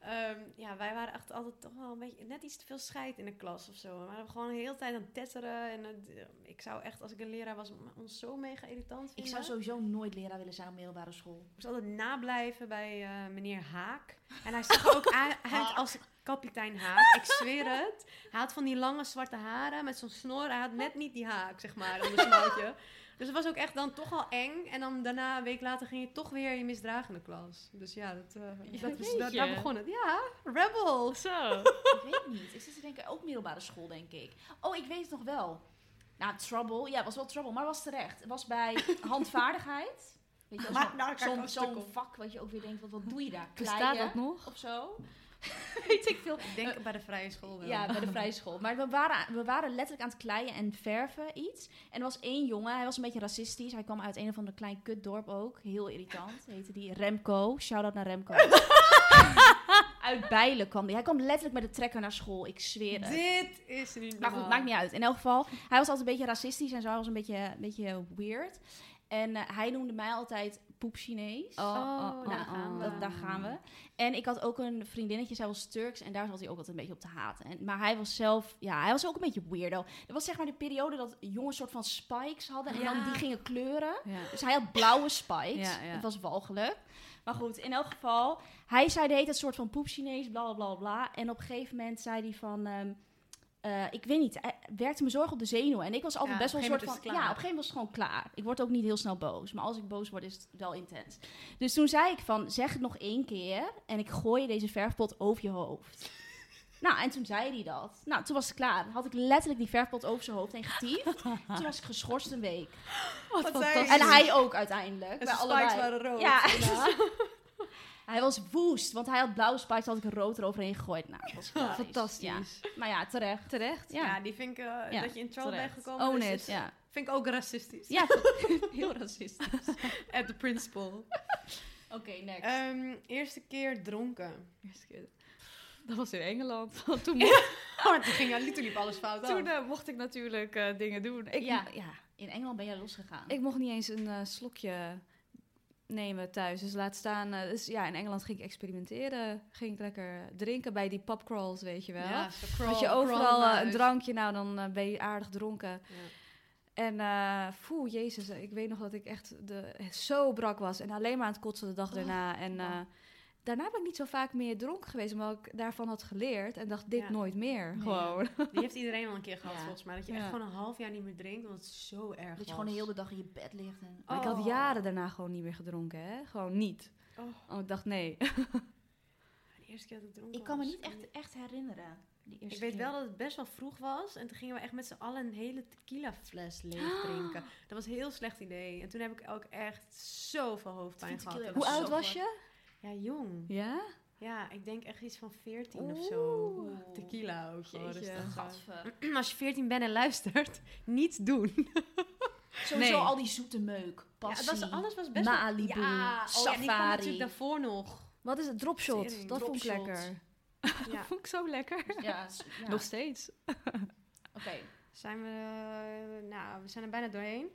S3: Ehm, ja, wij waren echt altijd toch wel een beetje net iets te veel scheid in de klas of zo. We waren gewoon de hele tijd aan het tetteren. En het- eh, ik zou echt, als ik een leraar was, m- ons zo mega irritant vinden.
S2: Ik zou sowieso nooit leraar willen zijn op middelbare school.
S3: Ik moest altijd nablijven bij eh, meneer Haak. En hij zag
S2: *laughs*
S3: er ook a- uit als kapitein Haak. Ik zweer het. Hij had van die lange zwarte haren met zo'n snor. Hij had net niet die haak, zeg maar, om een smoutje. Dus het was ook echt dan toch al eng. En dan daarna, een week later, ging je toch weer je misdragende klas. Dus ja, dat, eh,
S2: Ja,
S3: dat was,
S6: jeetje.
S3: daar- daar begon het. Ja, rebel.
S6: Zo.
S2: ik weet niet. Ik zit te denken, ook middelbare school, denk ik. Oh, ik weet het nog wel. Nou, trouble. Ja, het was wel trouble, maar was terecht. Het was
S3: *laughs*
S2: bij handvaardigheid. Weet je, wel,
S3: Maar
S2: zo'n-
S3: nou, kijk,
S2: zo'n
S3: als het er
S2: zo'n
S3: komt.
S2: vak wat je ook weer denkt, wat, wat doe je daar?
S4: Bestaat
S2: Kleien
S4: dat nog?
S2: of zo? weet ik veel.
S3: Ik denk bij de vrije school Oh, wel.
S2: Ja, bij de vrije school. Maar we waren, we waren letterlijk aan het kleien en verven iets. En er was één jongen, hij was een beetje racistisch. Hij kwam uit een of ander klein kutdorp ook. Heel irritant. Heette die Remco. Shout-out naar
S3: *laughs*
S2: Remco. uit Bijlen kwam die. Hij kwam letterlijk met de trekker naar school. Ik zweer het.
S3: Dit is niet
S2: Maar goed, maakt niet uit. In elk geval, hij was altijd een beetje racistisch en zo. Hij was een beetje, een beetje weird. En eh, hij noemde mij altijd poep Chinees.
S3: Oh, daar gaan we.
S2: Dat, daar gaan we. En ik had ook een vriendinnetje, zij was Turks en daar zat hij ook altijd een beetje op te haten. En, maar hij was zelf, ja, hij was ook een beetje weirdo. Dat was zeg maar de periode dat jongens soort van spikes hadden en dan
S3: Ja.
S2: die gingen kleuren.
S4: Ja.
S2: Dus hij had blauwe spikes.
S4: Ja, ja.
S2: Dat was walgelijk. Maar goed, in elk geval, hij zei de hele tijd soort van poep Chinees, bla bla, bla bla. En op een gegeven moment zei hij van, ehm, eh, ik weet niet, hij werkte me zorg op de zenuwen. En ik was altijd
S3: Ja,
S2: best
S3: op
S2: wel
S3: een
S2: een soort
S3: gegeven
S2: van, ja, op een gegeven moment
S3: moment is het
S2: was het gewoon klaar. Ik word ook niet heel snel boos, maar als ik boos word is het wel intens. Dus toen zei ik van, zeg het nog één keer en ik gooi je deze verfpot over je hoofd. *laughs* Nou, en toen zei hij dat. Nou, toen was het klaar. Had ik letterlijk die verfpot over zijn hoofd heen
S3: *laughs*
S2: getiefd. toen was ik geschorst een week.
S3: Wat
S4: fantastisch.
S2: En hij ook uiteindelijk.
S3: En
S2: bij
S3: zijn
S2: allebei.
S3: spikes waren rood.
S2: Ja. *laughs* Hij was woest, want hij had blauwe spikes, had ik rood eroverheen gegooid. Nou, dat was hilarisch.
S4: Fantastisch.
S2: Ja. Maar ja, terecht.
S4: Terecht.
S2: Ja,
S3: *laughs* Ja. die vind ik, eh,
S2: Ja,
S3: dat je in trouble
S2: terecht.
S3: bent gekomen.
S4: Own
S3: is-
S4: it.
S2: Ja,
S3: Vind ik ook racistisch.
S2: ja heel racistisch.
S3: At the principal.
S2: Oké, next.
S3: Ehm, eerste keer
S4: *laughs*
S3: dronken.
S4: Eerste keer. Dat was in Engeland. *laughs* toen mocht,
S3: Oh, toen ging ja, toen liep alles fout af.
S4: toen, eh, mocht ik natuurlijk eh, dingen doen. Ik,
S2: ja, ja, in Engeland ben jij losgegaan.
S4: ik mocht niet eens een eh, slokje nemen thuis. Dus laat staan. eh, dus ja, in Engeland ging ik experimenteren. Ging ik lekker drinken bij die pubcrawls, weet je wel.
S3: Ja, zo crawl,
S4: Had je
S3: crawl
S4: overal
S3: naar
S4: eh, een
S3: huis.
S4: drankje, nou dan eh, ben je aardig dronken.
S3: Ja.
S4: En eh foe, jezus, eh, ik weet nog dat ik echt de, zo brak was. En alleen maar aan het kotsen de
S3: Oh,
S4: dag daarna. En eh, daarna ben ik niet zo vaak meer dronken geweest, omdat ik daarvan had geleerd. En dacht, dit
S3: Ja.
S4: nooit meer,
S2: Nee.
S4: gewoon.
S3: Die heeft iedereen al een keer gehad,
S2: Ja.
S3: volgens mij. Dat je
S4: Ja.
S3: echt gewoon een half jaar niet meer drinkt, omdat het zo erg
S2: dat je
S3: was.
S2: gewoon de hele dag in je bed ligt. En...
S4: Maar Ik had
S3: Oh.
S4: jaren daarna gewoon niet meer gedronken, hè. Gewoon niet.
S3: Oh.
S4: Want ik dacht, nee. *laughs*
S3: De eerste keer dat ik dronken
S2: Ik kan me
S3: was.
S2: niet echt, echt herinneren. Die eerste
S3: Ik weet
S2: keer.
S3: wel dat het best wel vroeg was. En toen gingen we echt met z'n allen een hele tequila fles leeg drinken. Dat was een heel slecht idee. En toen heb ik ook echt zoveel hoofdpijn
S2: Ik vind
S3: gehad.
S2: tequila
S4: Hoe
S2: was
S4: oud
S2: zo
S4: was
S2: goed.
S4: je?
S3: Ja, jong.
S4: Ja?
S3: Ja, ik denk echt iets van 14 of zo.
S2: Oeh.
S3: Tequila ook. gewoon, dus
S4: Jeetje.
S3: dat is wel-
S2: Gadver.
S3: *clears throat* Als je 14 bent en luistert, *laughs* niets doen.
S2: Sowieso
S4: Nee.
S2: al die zoete meuk. Passie.
S3: Ja, het was, alles was best wel-
S2: Malibu,
S3: ja, oh ja, en die kwam
S2: safari.
S3: natuurlijk daarvoor nog.
S4: Wat is het? Dropshot.
S3: Tering,
S4: Dat vond ik
S2: dropshot.
S4: lekker.
S3: Ja. *laughs*
S4: Vond ik zo lekker.
S2: Ja, s- ja.
S4: Nog steeds.
S2: Oké.
S3: Zijn we, eh, nou, we zijn er bijna doorheen.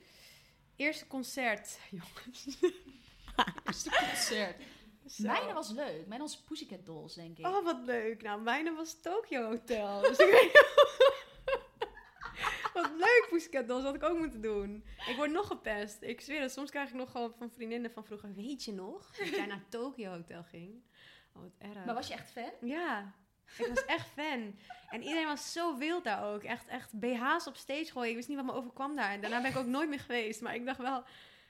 S3: Eerste concert, *laughs* jongens.
S2: Eerste concert.
S3: Zo.
S2: Mijne was leuk. Mijn was Pussycat Dolls, denk ik.
S3: Oh, wat leuk. Nou, mijne was Tokyo Hotel. Dus ik weet *laughs* Wat leuk, Pussycat Dolls. Dat had ik ook moeten doen. Ik word nog gepest. Ik zweer het. Soms krijg ik nog gewoon van vriendinnen van vroeger. Weet je nog? Dat jij naar Tokyo Hotel ging. Oh, wat erg.
S2: Maar was je echt fan?
S3: Ja, ik was echt fan. En iedereen was zo wild daar ook. Echt, echt BH's op stage gooien. Ik wist niet wat me overkwam daar. En daarna ben ik ook nooit meer geweest. Maar ik dacht wel,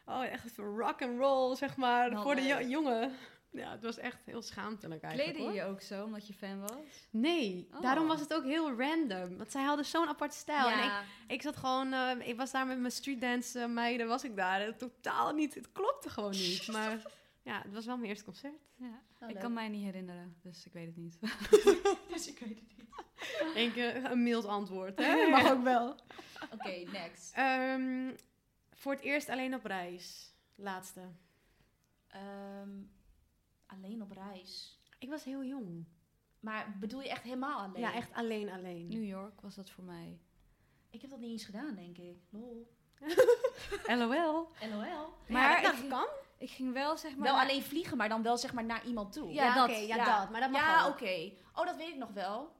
S3: oh, echt rock and roll, zeg maar,
S2: Wel
S3: voor de jo-
S2: leuk.
S3: jongen. Ja, het was echt heel schaamtelijk eigenlijk.
S4: Kleden
S3: Hoor.
S4: je ook zo, omdat je fan was?
S3: Nee,
S4: Oh.
S3: daarom was het ook heel random. Want zij hadden zo'n apart stijl. En ik,
S2: ja.
S3: ik zat gewoon, eh, ik was daar met mijn streetdance eh, meiden, was ik daar. En totaal niet, het klopte gewoon niet. Maar ja, het was wel mijn eerste concert.
S4: Ja.
S2: Oh,
S3: Nou,
S4: ik
S2: leuk. *laughs*
S4: kan mij niet herinneren, dus ik weet het niet.
S3: Hmm.
S2: Dus ik weet het niet.
S3: Eén keer een mild antwoord, hè? Dat mag ook wel.
S2: Oké, next.
S3: Ehm, voor het eerst alleen op reis. Laatste.
S2: Ehm, alleen op reis.
S3: Ik was heel jong.
S2: Maar bedoel je echt helemaal alleen?
S3: Ja, echt alleen alleen.
S4: New York was dat voor mij.
S2: Ik heb dat niet eens gedaan, denk ik. Lol.
S4: LOL.
S2: LOL.
S3: ja,
S4: Maar
S3: dat
S4: ik-
S3: nou, kan.
S4: Ik ging wel zeg maar.
S2: Wel
S4: naar-
S2: alleen vliegen, maar dan wel zeg maar naar iemand toe.
S4: Ja, dat.
S3: oké, ja, dat. Maar dat mag
S2: ja,
S3: wel.
S2: oké. Oh, dat weet ik nog wel.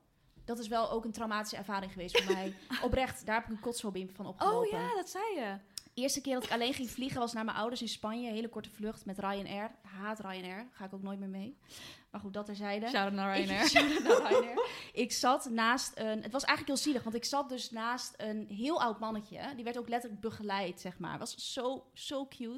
S2: Dat is wel ook een traumatische ervaring geweest voor mij. Oprecht, daar heb ik een kotsfobie van
S4: Oh
S2: opgelopen.
S4: ja, dat zei je.
S2: eerste keer dat ik alleen ging vliegen was naar mijn ouders in Spanje. Hele korte vlucht met Ryanair. Haat Ryanair. Ga ik ook nooit meer mee. Maar goed, dat terzijde.
S4: Shout out
S2: *laughs*
S4: naar
S2: Ik, Shout-out naar Ryanair. ik zat naast een... Het was eigenlijk heel zielig, want ik zat dus naast een heel oud mannetje. Die werd ook letterlijk begeleid, zeg maar. Was zo, zo cute.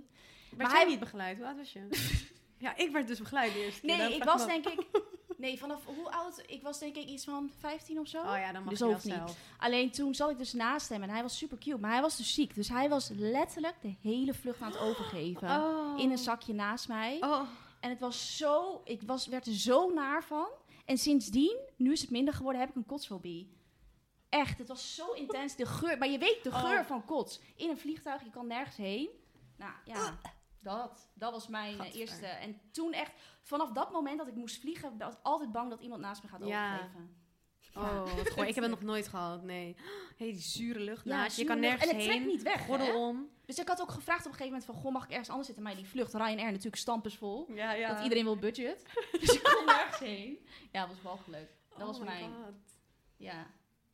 S3: Werd
S2: Maar
S3: jij
S2: hij-
S3: niet begeleid? Hoe oud was je? *laughs* ja, ik werd dus begeleid de eerste keer.
S2: Nee,
S3: Daarom
S2: ik
S3: vraag
S2: was
S3: me
S2: denk
S3: *laughs*
S2: ik... Nee, vanaf hoe oud? Ik was denk ik iets van 15 of zo.
S3: af. Oh ja, dan mag
S2: Dus
S3: je wel
S2: hoeft niet.
S3: zelf.
S2: Alleen toen zat ik dus naast hem en hij was super cute. Maar hij was dus ziek. Dus hij was letterlijk de hele vlucht aan het overgeven.
S3: Oh.
S2: In een zakje naast mij.
S3: Oh.
S2: En het was zo, ik was, werd er zo naar van. En sindsdien, nu is het minder geworden, heb ik een kotsfobie. Echt, het was zo intens. De geur, maar je weet de
S3: Oh.
S2: geur van kots. In een vliegtuig, je kan nergens heen. Nou ja, dat, dat was mijn eh,
S3: Ah. Gadver.
S2: eerste. En toen echt, vanaf dat moment dat ik moest vliegen, was ik altijd bang dat iemand naast me gaat
S3: Ja.
S2: overgeven.
S3: Oh, wat goor. ik heb het nog nooit gehad, nee. *gasps* hey, die zure lucht naast Nou, je. Je
S2: zuur
S3: kan
S2: lucht.
S3: nergens
S2: En het trekt
S3: heen.
S2: niet weg, hè?
S3: Gordel om.
S2: Dus ik had ook gevraagd op een gegeven moment van... Goh, mag ik ergens anders zitten? Maar die vlucht Ryanair natuurlijk stampensvol.
S3: Ja, ja.
S2: Dat iedereen wil
S4: *laughs*
S2: budget. Dus ik kon nergens heen. Ja, was wel leuk. Dat
S4: Oh
S2: was Oh
S3: Oh
S2: mijn... Ja.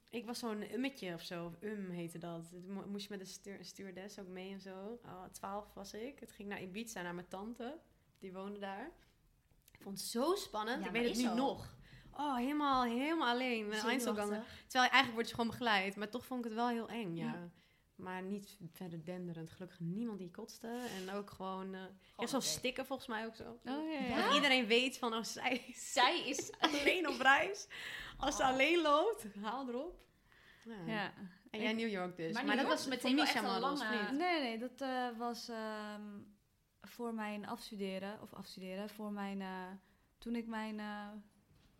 S3: Ik was zo'n ummetje of zo. Of um heette dat. Het mo- Moest je met de stuur- stewardess ook mee en zo. Oh, twaalf was ik. Het ging naar Ibiza, naar mijn tante. Die woonde daar. Ik vond het zo spannend.
S2: Ja,
S3: ik
S2: maar
S3: weet het
S2: is
S3: nu
S2: zo.
S3: nog. Oh, helemaal, helemaal alleen. Met een
S2: Zenuwachtig.
S3: Einzelganger. Terwijl je eigenlijk word je gewoon begeleid. Maar toch vond ik het wel heel eng, ja.
S2: Ja.
S3: Maar niet verder denderend. Gelukkig niemand die kotste. En ook gewoon... eh je
S1: oké.
S3: hebt zo'n stikken volgens mij ook zo.
S2: Oh, ja,
S3: Dat iedereen weet van als zij is
S2: Zij
S4: *laughs*
S2: is...
S3: alleen op reis. Als ze alleen loopt, haal erop. Oh. Ja.
S2: Ja. Ah.
S3: En jij New York dus.
S2: Maar New York is meteen wel echt een
S3: Madels,
S2: lange-
S3: of niet?
S4: Nee, nee, dat eh, was ehm, voor mijn afstuderen, of afstuderen, voor mijn, eh, toen ik mijn eh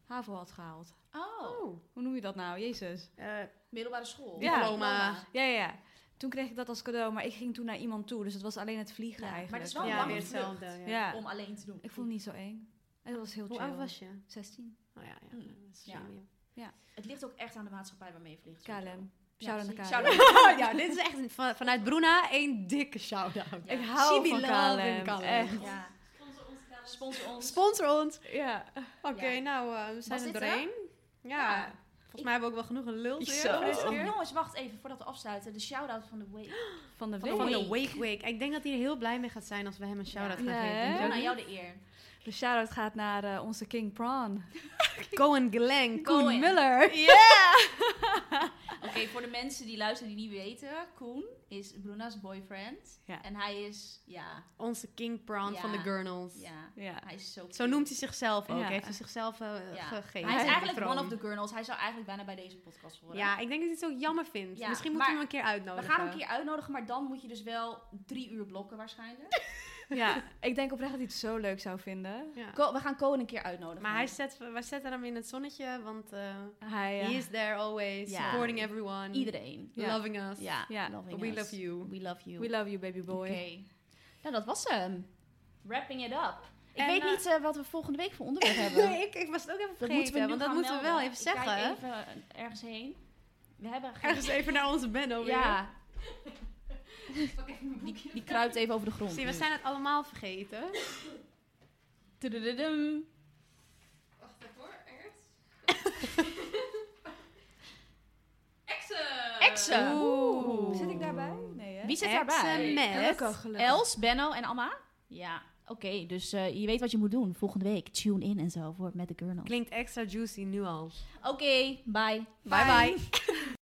S4: HAVO had gehaald.
S2: Oh,
S3: Oh.
S4: Hoe noem je dat nou? Jezus.
S3: Eh,
S2: middelbare school.
S4: Ja.
S3: Diploma.
S4: Ja, ja, ja. Toen kreeg ik dat als cadeau, maar ik ging toen naar iemand toe, dus het was alleen het vliegen
S2: Ja, maar
S4: eigenlijk.
S2: het is wel
S3: ja,
S2: lange
S3: weer
S2: vlucht.
S3: hetzelfde. Ja.
S4: Ja.
S2: Om alleen te doen.
S4: Ik vond het niet zo eng. En dat was heel
S3: Hoe
S4: chill.
S3: oud was je?
S4: 16.
S3: Oh ja, ja.
S2: Mm.
S3: dat is
S2: Ja.
S3: slim,
S2: *laughs* Het ligt ook echt aan de maatschappij waarmee je vliegt.
S4: KLM.
S2: Ja,
S4: Shout-out
S2: precies.
S4: naar KLM.
S2: Shout-out.
S3: ja. *laughs* ja, dit is echt een- van- vanuit Bruna één dikke shout-out.
S4: Ik hou
S3: She
S4: van
S3: be loving
S4: KLM.
S3: KLM.
S4: Echt.
S2: Ja. Sponsor ons. Sponsor ons.
S3: Sponsor ons.
S4: Ja.
S3: Oké,
S2: Ja.
S3: nou, eh, we zijn
S2: dit
S3: er
S2: het?
S3: doorheen. Ja, volgens mij hebben we ook wel genoeg geluld weer.
S4: Zo.
S3: voor deze
S2: Oh,
S3: keer.
S2: jongens, wacht even voordat we afsluiten. De shout-out van de week.
S4: Van
S2: Van de
S4: de week.
S3: Van de
S2: Wake.
S3: Wake Wake. Ik denk dat hij er heel blij mee gaat zijn als we hem een shout-out
S4: Ja.
S3: gaan
S4: Ja,
S3: geven.
S4: hè?
S3: Denk je
S2: Nou,
S3: ook
S2: aan
S3: niet?
S2: jou de eer.
S4: De shout-out gaat naar eh, onze King Prawn.
S2: Oh,
S3: Cohen Glenn,
S2: Cohen. *laughs*
S3: Koen Muller.
S2: Oké, voor de mensen die luisteren die niet weten. Koen is Bruna's boyfriend.
S4: Ja.
S2: En hij is, ja,
S3: Onze King Prawn
S2: Ja.
S3: van de Gurnals.
S2: ja.
S4: Ja.
S2: Hij is zo
S3: Zo noemt hij zichzelf ook.
S4: Ja.
S3: Heeft hij zichzelf eh,
S2: Ja.
S3: gegeven.
S2: Hij is
S3: de
S2: eigenlijk
S3: troon.
S2: one of the girls. Hij zou eigenlijk bijna bij deze podcast horen.
S3: Ja, ik denk dat hij het ook jammer vindt.
S2: Ja,
S3: Misschien moeten we hem
S2: maar-
S3: een keer
S2: We
S3: uitnodigen.
S2: gaan hem een keer uitnodigen, maar dan moet je dus wel drie uur blokken waarschijnlijk.
S4: ja.
S2: *laughs*
S4: Ik denk oprecht dat hij het zo leuk zou vinden.
S3: Ja.
S2: Ko- we gaan Cohen een keer uitnodigen.
S3: Maar hij zet, wij zetten hem in het zonnetje, want eh
S4: Hij, eh,
S3: he is there always,
S2: Ja.
S3: supporting everyone,
S2: Iedereen.
S4: Ja.
S3: loving us.
S2: ehm, Ja.
S4: Ja.
S2: loving
S3: We
S2: us.
S3: love you.
S2: We love you.
S4: we love you, baby boy.
S2: Oké. Nou, dat was hem. Wrapping it up. Ik
S3: En,
S2: weet
S3: eh,
S2: niet eh, wat we volgende week voor onderwerp hebben.
S3: *laughs* Nee, ik, ik was het ook even
S2: Dat
S3: vergeten,
S2: moeten we nu
S3: want dat
S2: gaan
S3: moeten we wel
S2: melden.
S3: even
S2: Ik kijk
S3: zeggen.
S2: even eh, ergens heen. We hebben geen...
S3: *laughs* Ergens even naar onze Benno weer.
S2: Ja. die, die kruipt even over de grond.
S3: Zie, we zijn het allemaal vergeten.
S2: Tudududum. *laughs* Exen.
S3: Oeh.
S4: Zit ik daarbij? Nee, hè?
S2: Wie zit
S3: Exen
S2: daarbij?
S3: met
S4: Gelukkig, gelukkig.
S2: Els, Benno en Amma? Ja. Oké, dus eh, je weet wat je moet doen. Volgende week tune in en zo voor met de Gurnal.
S3: Klinkt extra juicy nu al.
S2: Oké, bye.
S3: Bye bye.